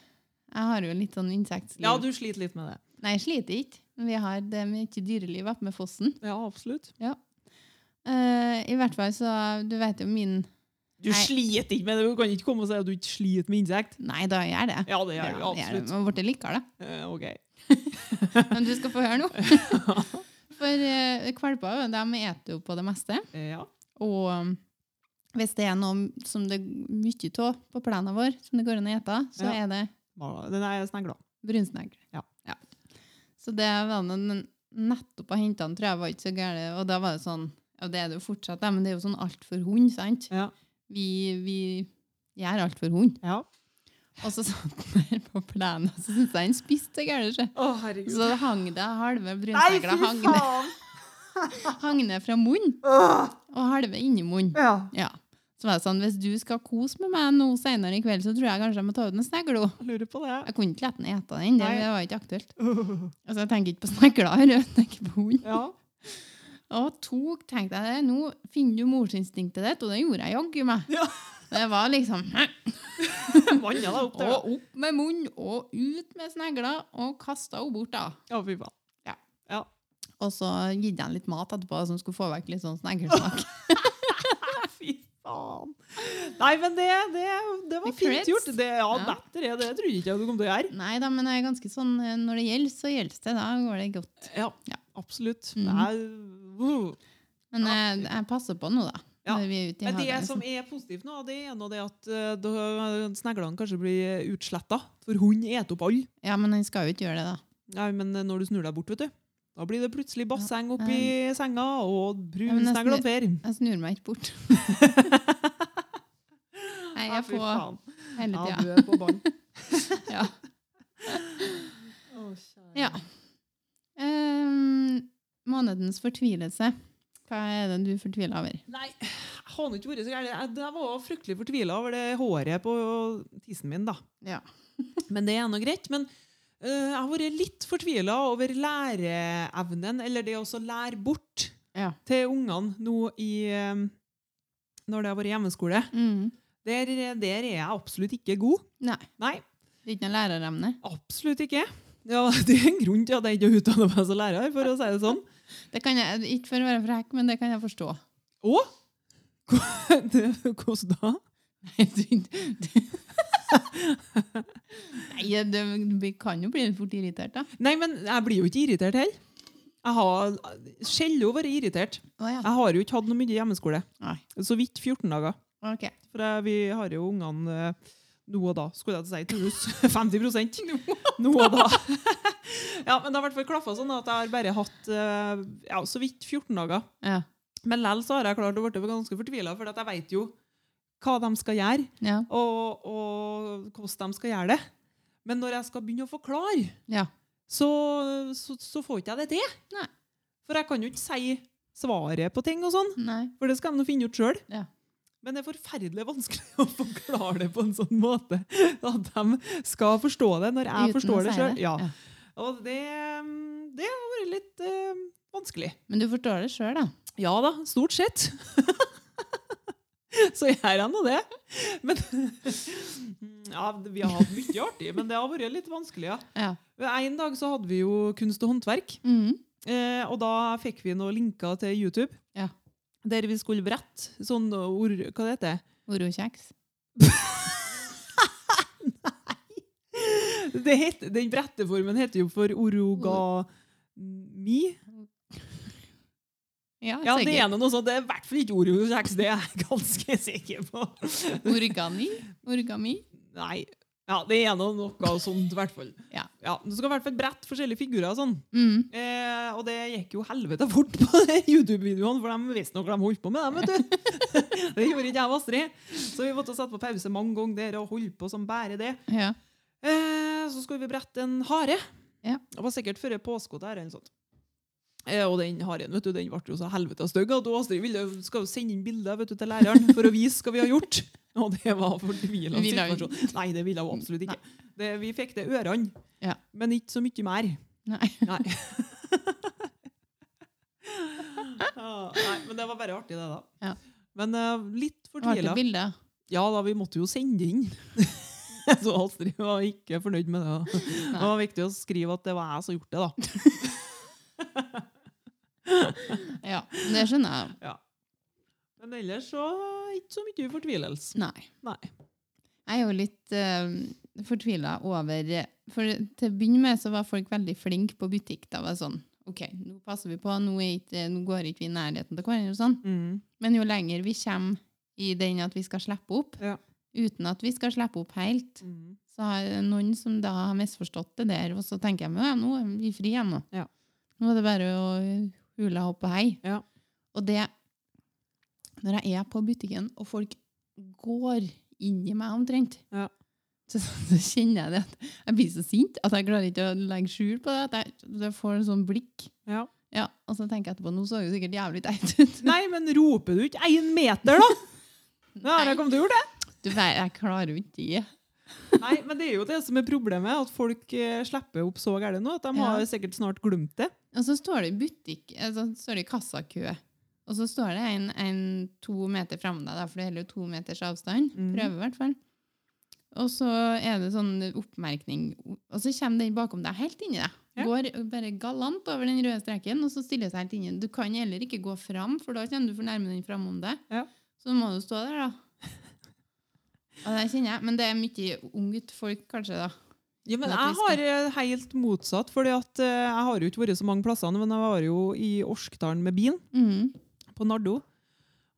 Jeg har jo litt sånn insektliv.
Ja, du sliter litt med det.
Nei, jeg sliter ikke. Men Vi har det med ikke dyreliv oppe med fossen.
Ja, absolutt.
Eh, I hvert fall så, du vet jo min...
Du
Nei.
sliter ikke med det. Du kan ikke komme og si at du ikke sliter med insekt.
Nei, da gjør jeg det.
Ja, det gjør du
det gjør det.
absolutt.
Men borte liker det.
Eh, ok.
Men du skal få høre nå. For eh, kvalper de eter jo på det meste.
Eh, ja.
Og um, hvis det er noe som det er mye av på plenen vår, som det går an å ete, så
Ja.
er det
Hva- Den er snegla.
brunsnegl.
Ja.
Så det var noe den nettopp har hentet den, tror jeg var ikke så gærent. Og da var det sånn, og det er det jo fortsatt, da, men det er jo sånn alt for hund, sant?
Ja.
Vi, vi gjør alt for hund.
Ja.
Og så satt den der på plenen, og så syntes jeg den spiste det gærent. ikke?
Å, herregud.
Så det hang det halve
Nei,
brunsnegla
fy
hang, ned-
faen!
hang ned fra munnen,
Åh,
og halve inni munnen.
ja.
Ja. Så var det sånn, hvis du skal kose med meg nå senere i kveld, så tror jeg kanskje jeg må ta ut en sneglo.
Jeg lurer på det.
Jeg kunne ikke lette den ete den, det,
Nei.
det var ikke aktuelt. Altså, jeg tenker ikke på snegler, her, jeg tenker på hund.
Ja.
Og tok, tenkte jeg det, nå finner du morsinstinktet ditt, og det gjorde jeg jaggu meg.
Ja.
Det var liksom, hæ?
Vannet deg opp der.
og opp med munnen, og ut med snegler, og kastet henne bort da.
Ja, fy faen.
Og så gitt jeg litt mat etterpå, som skulle få vekk litt sånn sneglesnakk.
Fy faen. Nei, men det, det, det var
Men
fint
creds.
gjort. Det, ja,
Ja.
Dette er det. Jeg trodde ikke jeg du kom til å gjøre.
Nei da, men jeg er ganske sånn, eh, når det gjelder, så gjelder det, da går det godt.
Ja,
Ja.
absolutt.
Mhm.
Nei, uh.
Men
Ja.
jeg, jeg passer på nå, da.
Ja.
Når vi er ute i
Men det
hagen.
som er positivt nå, det er nå det at eh, da- sneglene kanskje blir utsletta. For hund eter opp alle.
Ja, men han skal jo ikke gjøre det, da.
Nei, men eh, når du snur deg bort, vet du. Da blir det plutselig basseng oppi senga, og
Ja,
brun
men jeg
snegl
snur-
og fer.
Jeg snur meg ikke bort. Nei, jeg
Ja,
er
fy
på
faen.
hele
Ja,
tida.
du er på ball.
Ja.
Å, kjære.
Ja. Ehm, månedens fortvilelse. Hva er det du fortviler over?
Nei, jeg har nå ikke vært så gæren. Jeg- Jeg var fryktelig fortvila over det håret på tissen min, da.
Ja.
Men det er nå greit. Men øh, jeg har vært litt fortvila over læreevnen, eller det å så lære bort
Ja.
til ungene nå i øh, Når det har vært hjemmeskole.
Mm.
Der, der er jeg absolutt ikke god.
Nei.
Nei,
Det er ikke noe læreremne.
absolutt ikke. Ja, Det er en grunn til at jeg ikke har utdanna meg som lærer, for å si det sånn.
Det kan jeg, ikke for å være frekk, men det kan jeg forstå.
Å? sånn. Hvordan da?
Nei, du- du- Nei, det, vi kan jo bli fort irritert, da.
Nei, men jeg blir jo ikke irritert heller. Jeg har sjelden vært irritert.
Å ja.
Jeg har jo ikke hatt noe mye hjemmeskole.
Nei.
Så vidt 14 dager.
Ok.
For jeg, vi har jo ungene eh, nå og da, skulle jeg til å si. Truls 50 Nå og da. Ja, men det har i hvert fall klaffa sånn at jeg har bare hatt eh, ja, så vidt 14 dager.
Ja.
Men likevel så har jeg klart å bli ganske fortvila, for at jeg veit jo hva de skal gjøre,
Ja.
og, og hvordan de skal gjøre det. Men når jeg skal begynne å forklare
ja.
så, så, så får ikke jeg det til.
Nei.
For jeg kan jo ikke si svaret på ting og sånn,
Nei.
for det skal de nå finne ut sjøl.
Ja.
Men det er forferdelig vanskelig å forklare det på en sånn måte at de skal forstå det når jeg
Uten å
forstår det
si
sjøl. Ja.
Ja.
Og det, mm, det har vært litt eh, vanskelig.
Men du forstår det sjøl, da.
Ja da, stort sett. så gjør jeg nå det. Men ja, Vi har hatt mye artig, men det har vært litt vanskelig, ja.
Ja.
En dag så hadde vi jo kunst og håndverk,
Mhm.
eh, og da fikk vi noen linker til YouTube.
Ja.
Der vi skulle brette sånn ord... Hva det heter
Orokjeks.
det? het- Den bretteformen heter jo for orogami.
Ja,
Ja, det
sikkert.
ene noe sånt. Det er i hvert fall ikke orokjeks, det er jeg ganske sikker på.
Origami. Origami.
Nei. Ja, det er noe, noe sånt, i hvert fall.
Ja.
Du skal i hvert fall brette forskjellige figurer og sånn.
Mm.
Eh, og det gikk jo helvete fort på de YouTube-videoene, for de visste nok hva de holdt på med. Dem, vet du. det gjorde ikke jeg og Astrid. Så vi måtte sette på pause mange ganger der og holde på som bare det.
Ja.
Eh, så skulle vi brette en hare.
Ja.
Det var sikkert før påske der. eller noe sånt. sånn- Eh, og den haren vet du, den ble jo så helvete stygg at du, Astrid ville, skal jo sende inn bilder vet du, til læreren for å vise hva vi har gjort. Og det var fortvilende
Ville hun-
situasjon. Nei, det ville hun absolutt ikke. Det, vi fikk det ørene,
Ja.
men ikke så mye mer.
Nei.
Nei. Ah, Nei, men det var bare artig, det, da.
Ja.
Men eh, litt
Artig
fortvila.
bilde.
Ja da, vi måtte jo sende det inn. Så Astrid var ikke fornøyd med det. Det var viktig å skrive at det var jeg som gjorde det, da.
Ja, det skjønner jeg.
Men ellers så ikke så mye fortvilelse.
Nei.
Nei.
Jeg er jo litt uh, fortvila over eh, For til å begynne med så var folk veldig flinke på butikk. Da var det sånn OK, nå passer vi på, nå, er ikke, eh, nå går ikke vi i nærheten til hverandre og sånn.
Mm.
Men jo lenger vi kommer i den at vi skal slippe opp,
Ja.
uten at vi skal slippe opp helt,
Mm.
så har jeg noen som da har misforstått det der, og så tenker jeg at nå er vi fri igjen nå.
Ja.
Nå er det bare å hule opp og hei.
Ja.
Og det, når jeg er på butikken, og folk går inn i meg omtrent,
Ja.
så, så kjenner jeg det at jeg blir så sint, at jeg klarer ikke å legge skjul på det, at jeg, jeg får en sånn blikk.
Ja.
Ja, og så tenker jeg etterpå, nå så jo sikkert jævlig teit ut.
Nei, men roper du ikke én meter, da? Ja,
Nei.
jeg kom til å gjøre det.
Du, nei, jeg klarer jo ikke det.
Nei, men det er jo det som er problemet, at folk eh, slipper opp så gærent nå at de
Ja.
har sikkert snart glemt det.
Og så står det i butikk, altså, så står det i kassakø. Og så står det en, en to meter fram deg, da, for det gjelder jo to meters avstand.
Mhm.
Prøve, i hvert fall. Og så er det sånn oppmerkning, og så kommer den bakom deg helt inni deg.
Ja.
Går bare galant over den røde streken, og så stiller seg helt inni. Du kan heller ikke gå fram, for da kommer du for nærme den framom deg.
Ja.
Så må du stå der, da. Og det kjenner jeg. Men det er mye ungt folk, kanskje, da.
Ja, men
Men at
jeg
vi
har eh, helt motsatt, fordi at eh, jeg har jo ikke vært så mange plasser, men jeg var jo i Orskdalen med bilen,
Mhm.
på Nardo.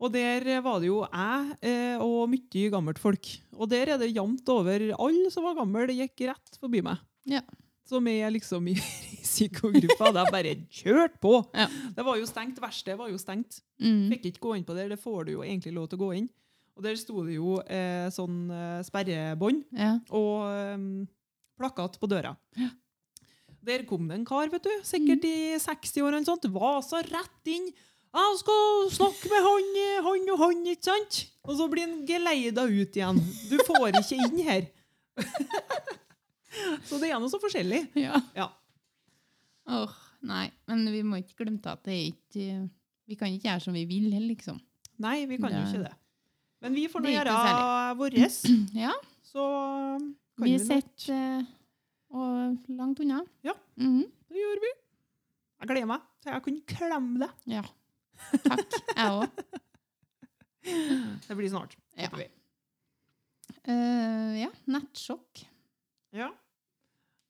Og der eh, var det jo jeg eh, og mye gammelt folk. Og der er det jevnt over alle som var gamle, det gikk rett forbi meg.
Ja.
Som er liksom i risikogruppa. Det er bare kjørt på!
Ja.
Det var jo stengt, verkstedet var jo stengt.
Mhm.
Fikk ikke gå inn på der, det får du jo egentlig lov til å gå inn. Og der sto det jo eh, sånn eh, sperrebånd
Ja.
og ehm, plakat på døra. Der kom det en kar, vet du, sikkert
Mm.
i 60 år eller noe sånt, vasa rett inn. Jeg skal snakke med han, eh, han og han, ikke sant? Og så blir han geleida ut igjen. Du får ikke inn her. så det er noe så forskjellig.
ja.
Ja.
Åh, nei, men vi må ikke glemme at det er ikke Vi kan ikke gjøre som vi vil, heller, liksom.
Nei, vi kan jo
Nei.
ikke det. Men vi får nå
Det er ikke
gjøre vårt,
Ja,
så eh, kan
vi
vi, nå-
sitter eh, og langt unna.
Ja.
Mhm.
Det gjør vi. Jeg gleder meg til jeg kan klemme deg.
ja. Takk, jeg òg.
Det blir snart.
Ja.
håper vi.
Eh, ja, nettsjokk.
Ja.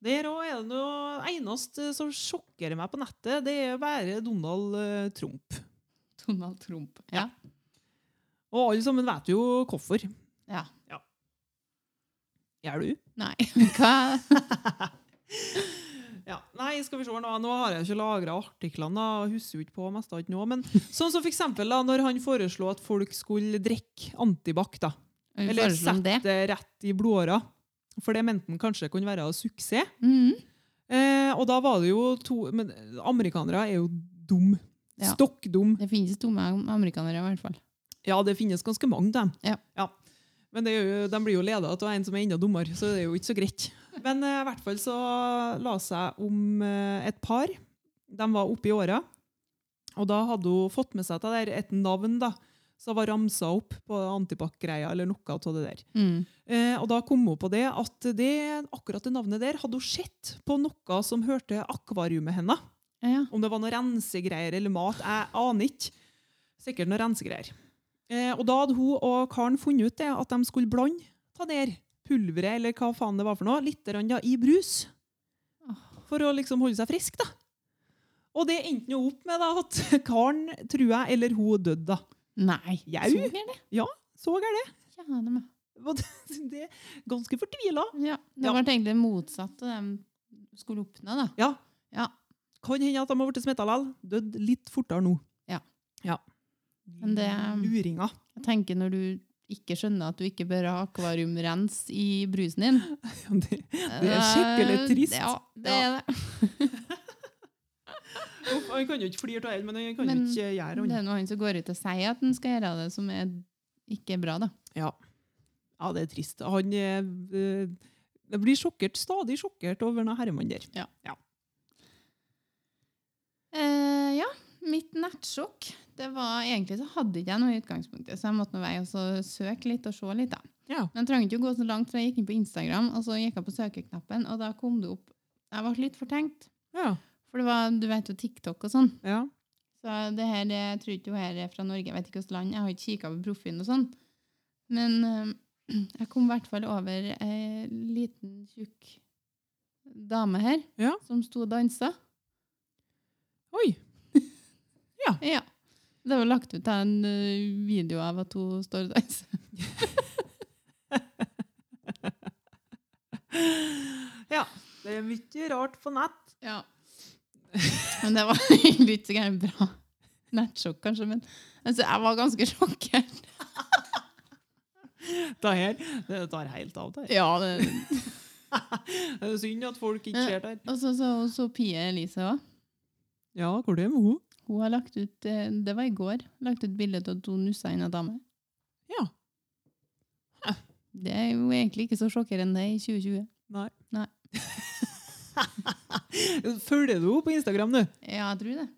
Der òg er det noe eneste eh, som sjokkerer meg på nettet, det er bare Donald eh, Trump.
Donald Trump. Ja.
Og alle sammen vet jo hvorfor.
ja.
Gjør du?
Nei, hva
Ja. Nei, skal vi se nå. Nå har jeg ikke lagra artiklene, da, og husker jo ikke på mest av alt nå. Men sånn som for eksempel da, når han foreslo at folk skulle drikke antibac, da.
Vi
Eller
foreslår om
sette
det.
det rett i blodåra. For det mente han kanskje kunne være en suksess.
Mhm.
Eh, og da var det jo to Men amerikanere er jo dum.
Ja.
Stokk dum.
Det finnes dumme am- amerikanere, i hvert fall.
Ja, det finnes ganske mange, dem.
Ja.
Men det er jo, de blir jo leda av en som er enda dummere, så det er jo ikke så greit. Men eh, i hvert fall så la seg om eh, et par. De var oppe i åra. Og da hadde hun fått med seg til der et navn da, som var ramsa opp på antibac-greia eller noe av det der.
Mhm.
Eh, og da kom hun på det at det, akkurat det navnet der hadde hun sett på noe som hørte akvariumet hennes.
Ja, ja.
Om det var noen rensegreier eller mat, jeg aner ikke. Sikkert noen rensegreier. Eh, og da hadde hun og karen funnet ut det, at de skulle blande ta der pulveret eller hva faen det var for noe, litt grann, da, i brus. For å liksom holde seg frisk, da. Og det endte nå opp med da, at karen, tror jeg, eller hun døde, da.
Nei.
Jau.
Så er det.
Så gærent.
Kjære meg.
Og det- Det er ganske fortvila.
Ja, det
Ja.
ble egentlig motsatt av det de skulle oppnå, da.
Ja.
Ja.
Kan hende at de har blitt smitta likevel. Dødd litt fortere nå.
Ja.
ja.
Men det-
Luringer.
Jeg tenker når du ikke skjønner at du ikke bør ha akvariumrens i brusen din.
Ja, det- Det er skikkelig
Eh,
trist.
Ja, det er det.
Uff, Han kan jo ikke flire av det, men han kan
Men
jo ikke gjøre
Det
annet.
er noen som går ut og sier at en skal gjøre det, som er ikke er bra, da.
Ja, det er trist. Han eh, eh, jeg blir sjokkert, stadig sjokkert over denne herremannen der.
Eh, ja, mitt nettsjokk det var egentlig så hadde ikke jeg noe i utgangspunktet, så jeg måtte nå vei og så søke litt og se litt. da.
Ja.
Men jeg trenger ikke å gå så langt, så jeg gikk inn på Instagram, og så gikk jeg på søkeknappen, og da kom det opp Jeg ble litt fortenkt,
Ja.
for det var, du vet jo TikTok og sånn.
ja.
Så det her, det- jeg tror ikke hun her er fra Norge, jeg vet ikke hvilket land. Jeg har ikke kikka på profilen og sånn. Men eh, jeg kom i hvert fall over ei liten, tjukk dame her
Ja.
som sto og dansa.
Oi.
Ja. Det var lagt ut en eh, video av at hun står og danser.
Ja. Det er mye rart på nett.
Ja. Men det var egentlig ikke så gærent bra. Nettsjokk, kanskje, men altså, jeg var ganske sjokkert.
Det her det tar helt av der.
Ja, det,
Det er synd at folk ikke ser der.
Og så så hun Sofie Elise òg.
Ja, hvor det er med henne?
Hun har lagt ut, eh, det var i går, lagt ut bilde av at hun nussa inn ei dame.
Ja. Hæ.
Det er jo egentlig ikke så sjokkerende i 2020.
Nei.
Nei.
Følger du henne på Instagram, du?
Ja, jeg tror det.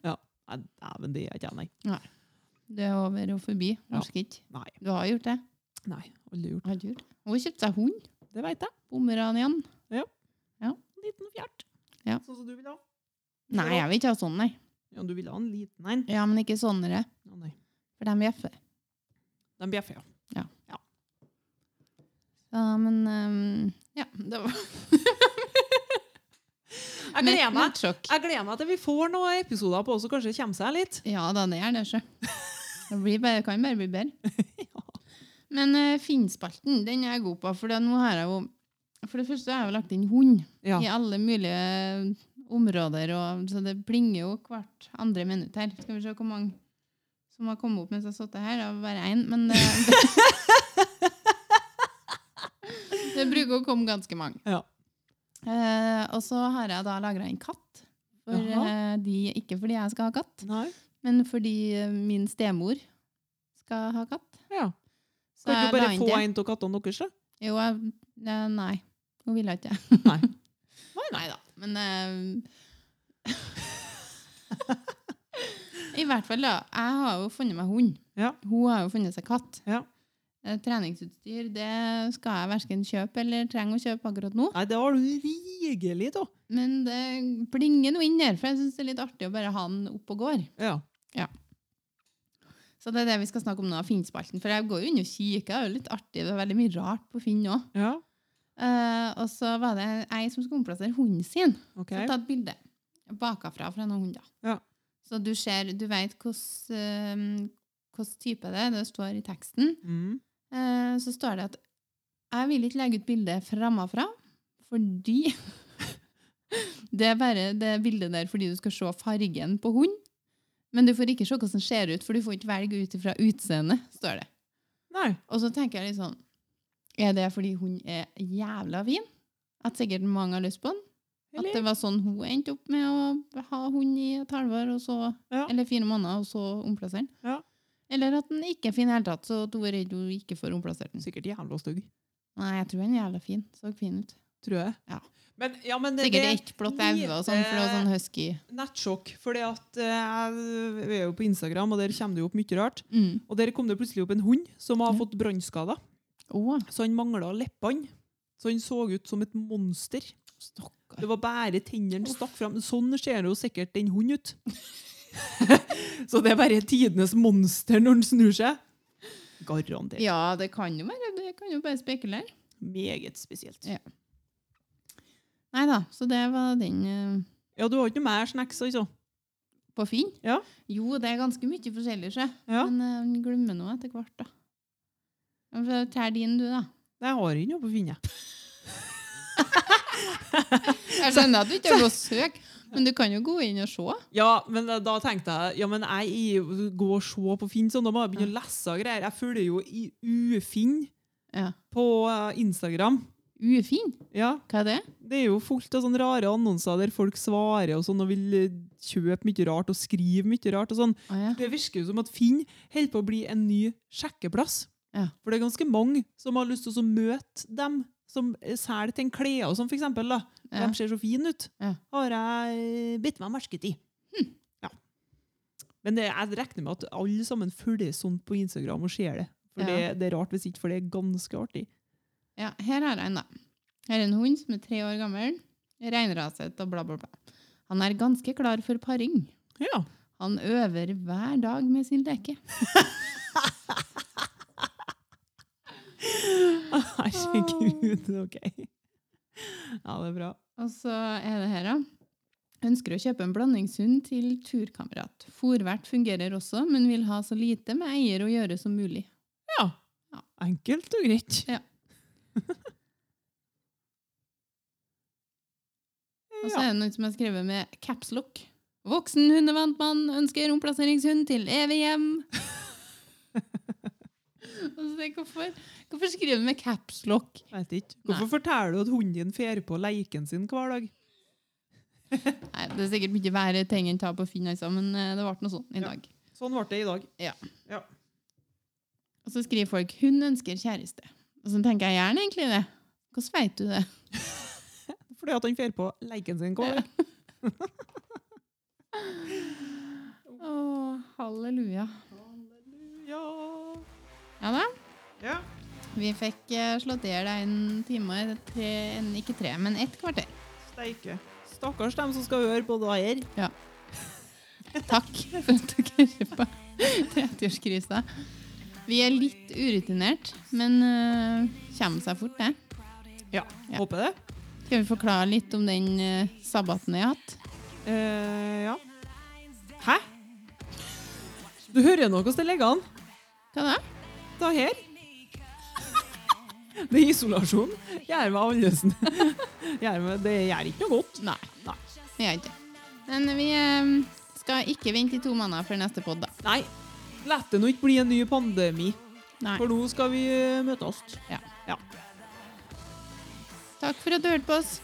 Nei, dæven, det gjør ikke jeg, nei.
Det er over og forbi.
Ja.
Norsk ikke.
Nei.
Du har gjort det.
Nei, aldri
Jeg
gjort.
har ikke gjort det. Hun har kjøpt seg hund.
Det veit jeg.
Pomeranian.
En liten fjert.
Ja.
Sånn som du vil ha.
Nei, jeg vil ikke ha sånn, nei.
Ja, du vil ha en liten en?
Ja, men ikke sånnere.
Å, nei.
For de bjeffer.
Den bjeffer, ja.
Ja, men ehm, Ja, det var
Jeg gleder meg.
Nettsjokk.
Jeg gleder meg til vi får noen episoder på, så kanskje det kommer seg litt.
Ja da, det er det, sjø. Det blir bare, kan bare bli bedre.
Ja.
Men uh, Finnspalten den er jeg god på. For, det, nå har jeg jo, for det første har jeg jo lagt inn hund
Ja.
i alle mulige områder. Og, så det plinger jo hvert andre minutt her. Skal vi se hvor mange som har kommet opp mens jeg har sittet her. Det var bare én, men eh, Det bruker å komme ganske mange.
Ja.
Eh, og så har jeg da lagra en katt. For,
Jaha.
eh, de, ikke fordi jeg skal ha katt.
Nei.
Men fordi eh, min stemor skal ha katt.
Ja.
Så
Kan
jeg
du
la
bare
inn
få
Eh, det.
en av kattene deres, da?
Jo, jeg, eh, nei. Hun ville ikke.
Nei.
Nei da. Men eh, I hvert fall, da. Jeg har jo funnet meg hund.
Ja.
Hun har jo funnet seg katt.
Ja.
Eh, Treningsutstyr det skal jeg verken kjøpe eller trenger å kjøpe akkurat nå.
Nei, det har du rigelig av.
Men det plinger nå inn der, for jeg syns det er litt artig å bare ha den opp og går.
Ja.
Så det er det vi skal snakke om nå, Finnspalten. For jeg går jo inn og kikker. Det er jo litt artig. Det er veldig mye rart på Finn òg.
ja.
Eh, og så var det ei som skulle omplassere hunden sin.
OK.
Så ta et bilde bakafra fra noen hunder.
Ja.
Så du ser, du vet hvordan eh, hvordan type det er. Det står i teksten.
Mm.
Eh, så står det at jeg vil ikke legge ut bilde framafra fordi Det er bare det bildet der fordi du skal se fargen på hund. Men du får ikke se hvordan den ser ut, for du får ikke velge ut ifra utseendet, står det.
Nei.
Og så tenker jeg litt sånn Er det fordi hun er jævla fin? At sikkert mange har lyst på den? At
Eller?
det var sånn hun endte opp med å ha hund i et halvår, og så,
Ja.
eller fire måneder, og så omplassere den?
Ja.
Eller at den ikke er fin i det hele tatt, så at hun er redd hun ikke får omplassert den.
Sikkert jævla stygg.
Nei, jeg tror den er jævla fin. Så fin ut.
Tror jeg.
Ja.
Men, ja, men det,
Sikkert det
det eh,
er ikke blått øye og sånn, for det var sånn husky.
Nettsjokk. fordi at eh, jeg vi er jo på Instagram, og der kommer det jo opp mye rart.
Mm.
Og der kom det plutselig opp en hund som har
Ja.
fått brannskader.
Å,
Så han mangla leppene. Så han så ut som et monster.
stakkar.
Det var bare tennene stakk fram. Sånn ser jo sikkert den hunden ut. så det er bare tidenes monster når den snur seg. Garantert.
Ja, det kan jo være. Det kan jo bare spekulere.
Meget spesielt.
Ja. Nei da, så det var den eh,
Ja, du har ikke noe mer snacks, altså?
på Finn.
Ja.
Jo, det er ganske mye forskjellig, sjø.
Ja.
Men eh, han glemmer noe etter hvert, da. Ja, men Tell din, du, da.
Nei, Jeg har ikke noe på Finn, jeg.
Jeg skjønner at du ikke har gått søk, men du kan jo gå inn og se.
Ja, men da- da tenkte jeg ja, men jeg er- går og ser på Finn, sånn, da må jeg begynne å lese og greier. Jeg følger jo i Ufinn
Ja.
på eh, Instagram.
Ufin?
Ja,
Hva er det?
Det er jo fullt av sånne rare annonser der folk svarer og sånn og vil eh, kjøpe mye rart og skrive mye rart. og sånn.
Å ja.
Det virker jo som at Finn holder på å bli en ny sjekkeplass.
Ja.
For det er ganske mange som har lyst til å møte dem som eh, selger til en klede og sånn, for eksempel. Da.
ja.
De ser så fine ut.
Ja. Hm.
Har jeg eh, bitt meg merke i. Ja. Men det, jeg regner med at alle sammen følger sånt sånn på Instagram og ser det. For
Ja.
det, det er rart hvis ikke, for det er ganske artig.
Ja, her har jeg en, da. Her er en hund som er tre år gammel. Reinraset og bla, bla, bla. Han er ganske klar for paring.
Ja.
Han øver hver dag med sin leke.
Herregud, ok. Ja, det er bra.
Og så er det her, da. Ønsker å kjøpe en blandingshund til turkamerat. Fòrvert fungerer også, men vil ha så lite med eier å gjøre som mulig.
Ja.
Ja.
Enkelt og greit.
Ja. Og så er
Ja.
det noe som er skrevet med caps lock. Voksen hundevantmann ønsker omplasseringshund til evig hjem. Og så tenker jeg, hvorfor, hvorfor skriver du med caps lock?
Vet ikke. Hvorfor forteller du at hunden din fer på leiken sin hver dag?
Nei, Det er sikkert mye verre ting enn ta på Finn, altså, men eh, det ble noe sånn i
Ja.
dag.
Sånn ble det i dag.
Og så skriver folk 'hun ønsker kjæreste'. Og så tenker jeg gjerne egentlig det. Hvordan veit du det?
Fordi at han fer på leiken sin hver dag.
Å, halleluja.
Ja.
Ja da.
ja.
Vi fikk eh, slått i hjel en time, tre, en, ikke tre, men ett kvarter.
Steike. Stakkars dem som skal høre på det her.
Takk for at dere hører på 30-årskrisa. Vi er litt urutinert, men eh, kommer seg fort, det.
Ja.
Ja.
Håper det.
Skal vi forklare litt om den eh, sabbaten jeg har hatt?
Eh, ja. Hæ? Du hører nå hvordan det ligger an.
Hva da?
Det her. Det er isolasjon. Gjør meg annerlesen. Gjør meg- Det gjør ikke noe godt.
Nei. Vi gjør ikke det. Men vi eh, skal ikke vente i to måneder før neste pod, da.
Nei. La det nå ikke bli en ny pandemi,
Nei.
for nå skal vi eh, møtes.
Ja.
Ja.
Takk for at du hørte på oss.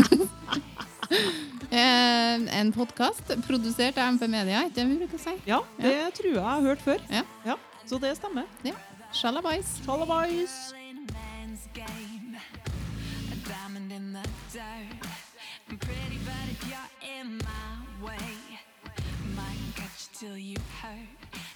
eh, en podkast produsert av MP Media, ikke det vi bruker å si.
Ja, det tror jeg jeg har hørt før.
Ja.
Så det stemmer.
Ja. Sjalabais.
Sjalabais!
playing a man's game. A diamond in the dirt. I'm pretty, but if you're in my way, might catch you till you hurt.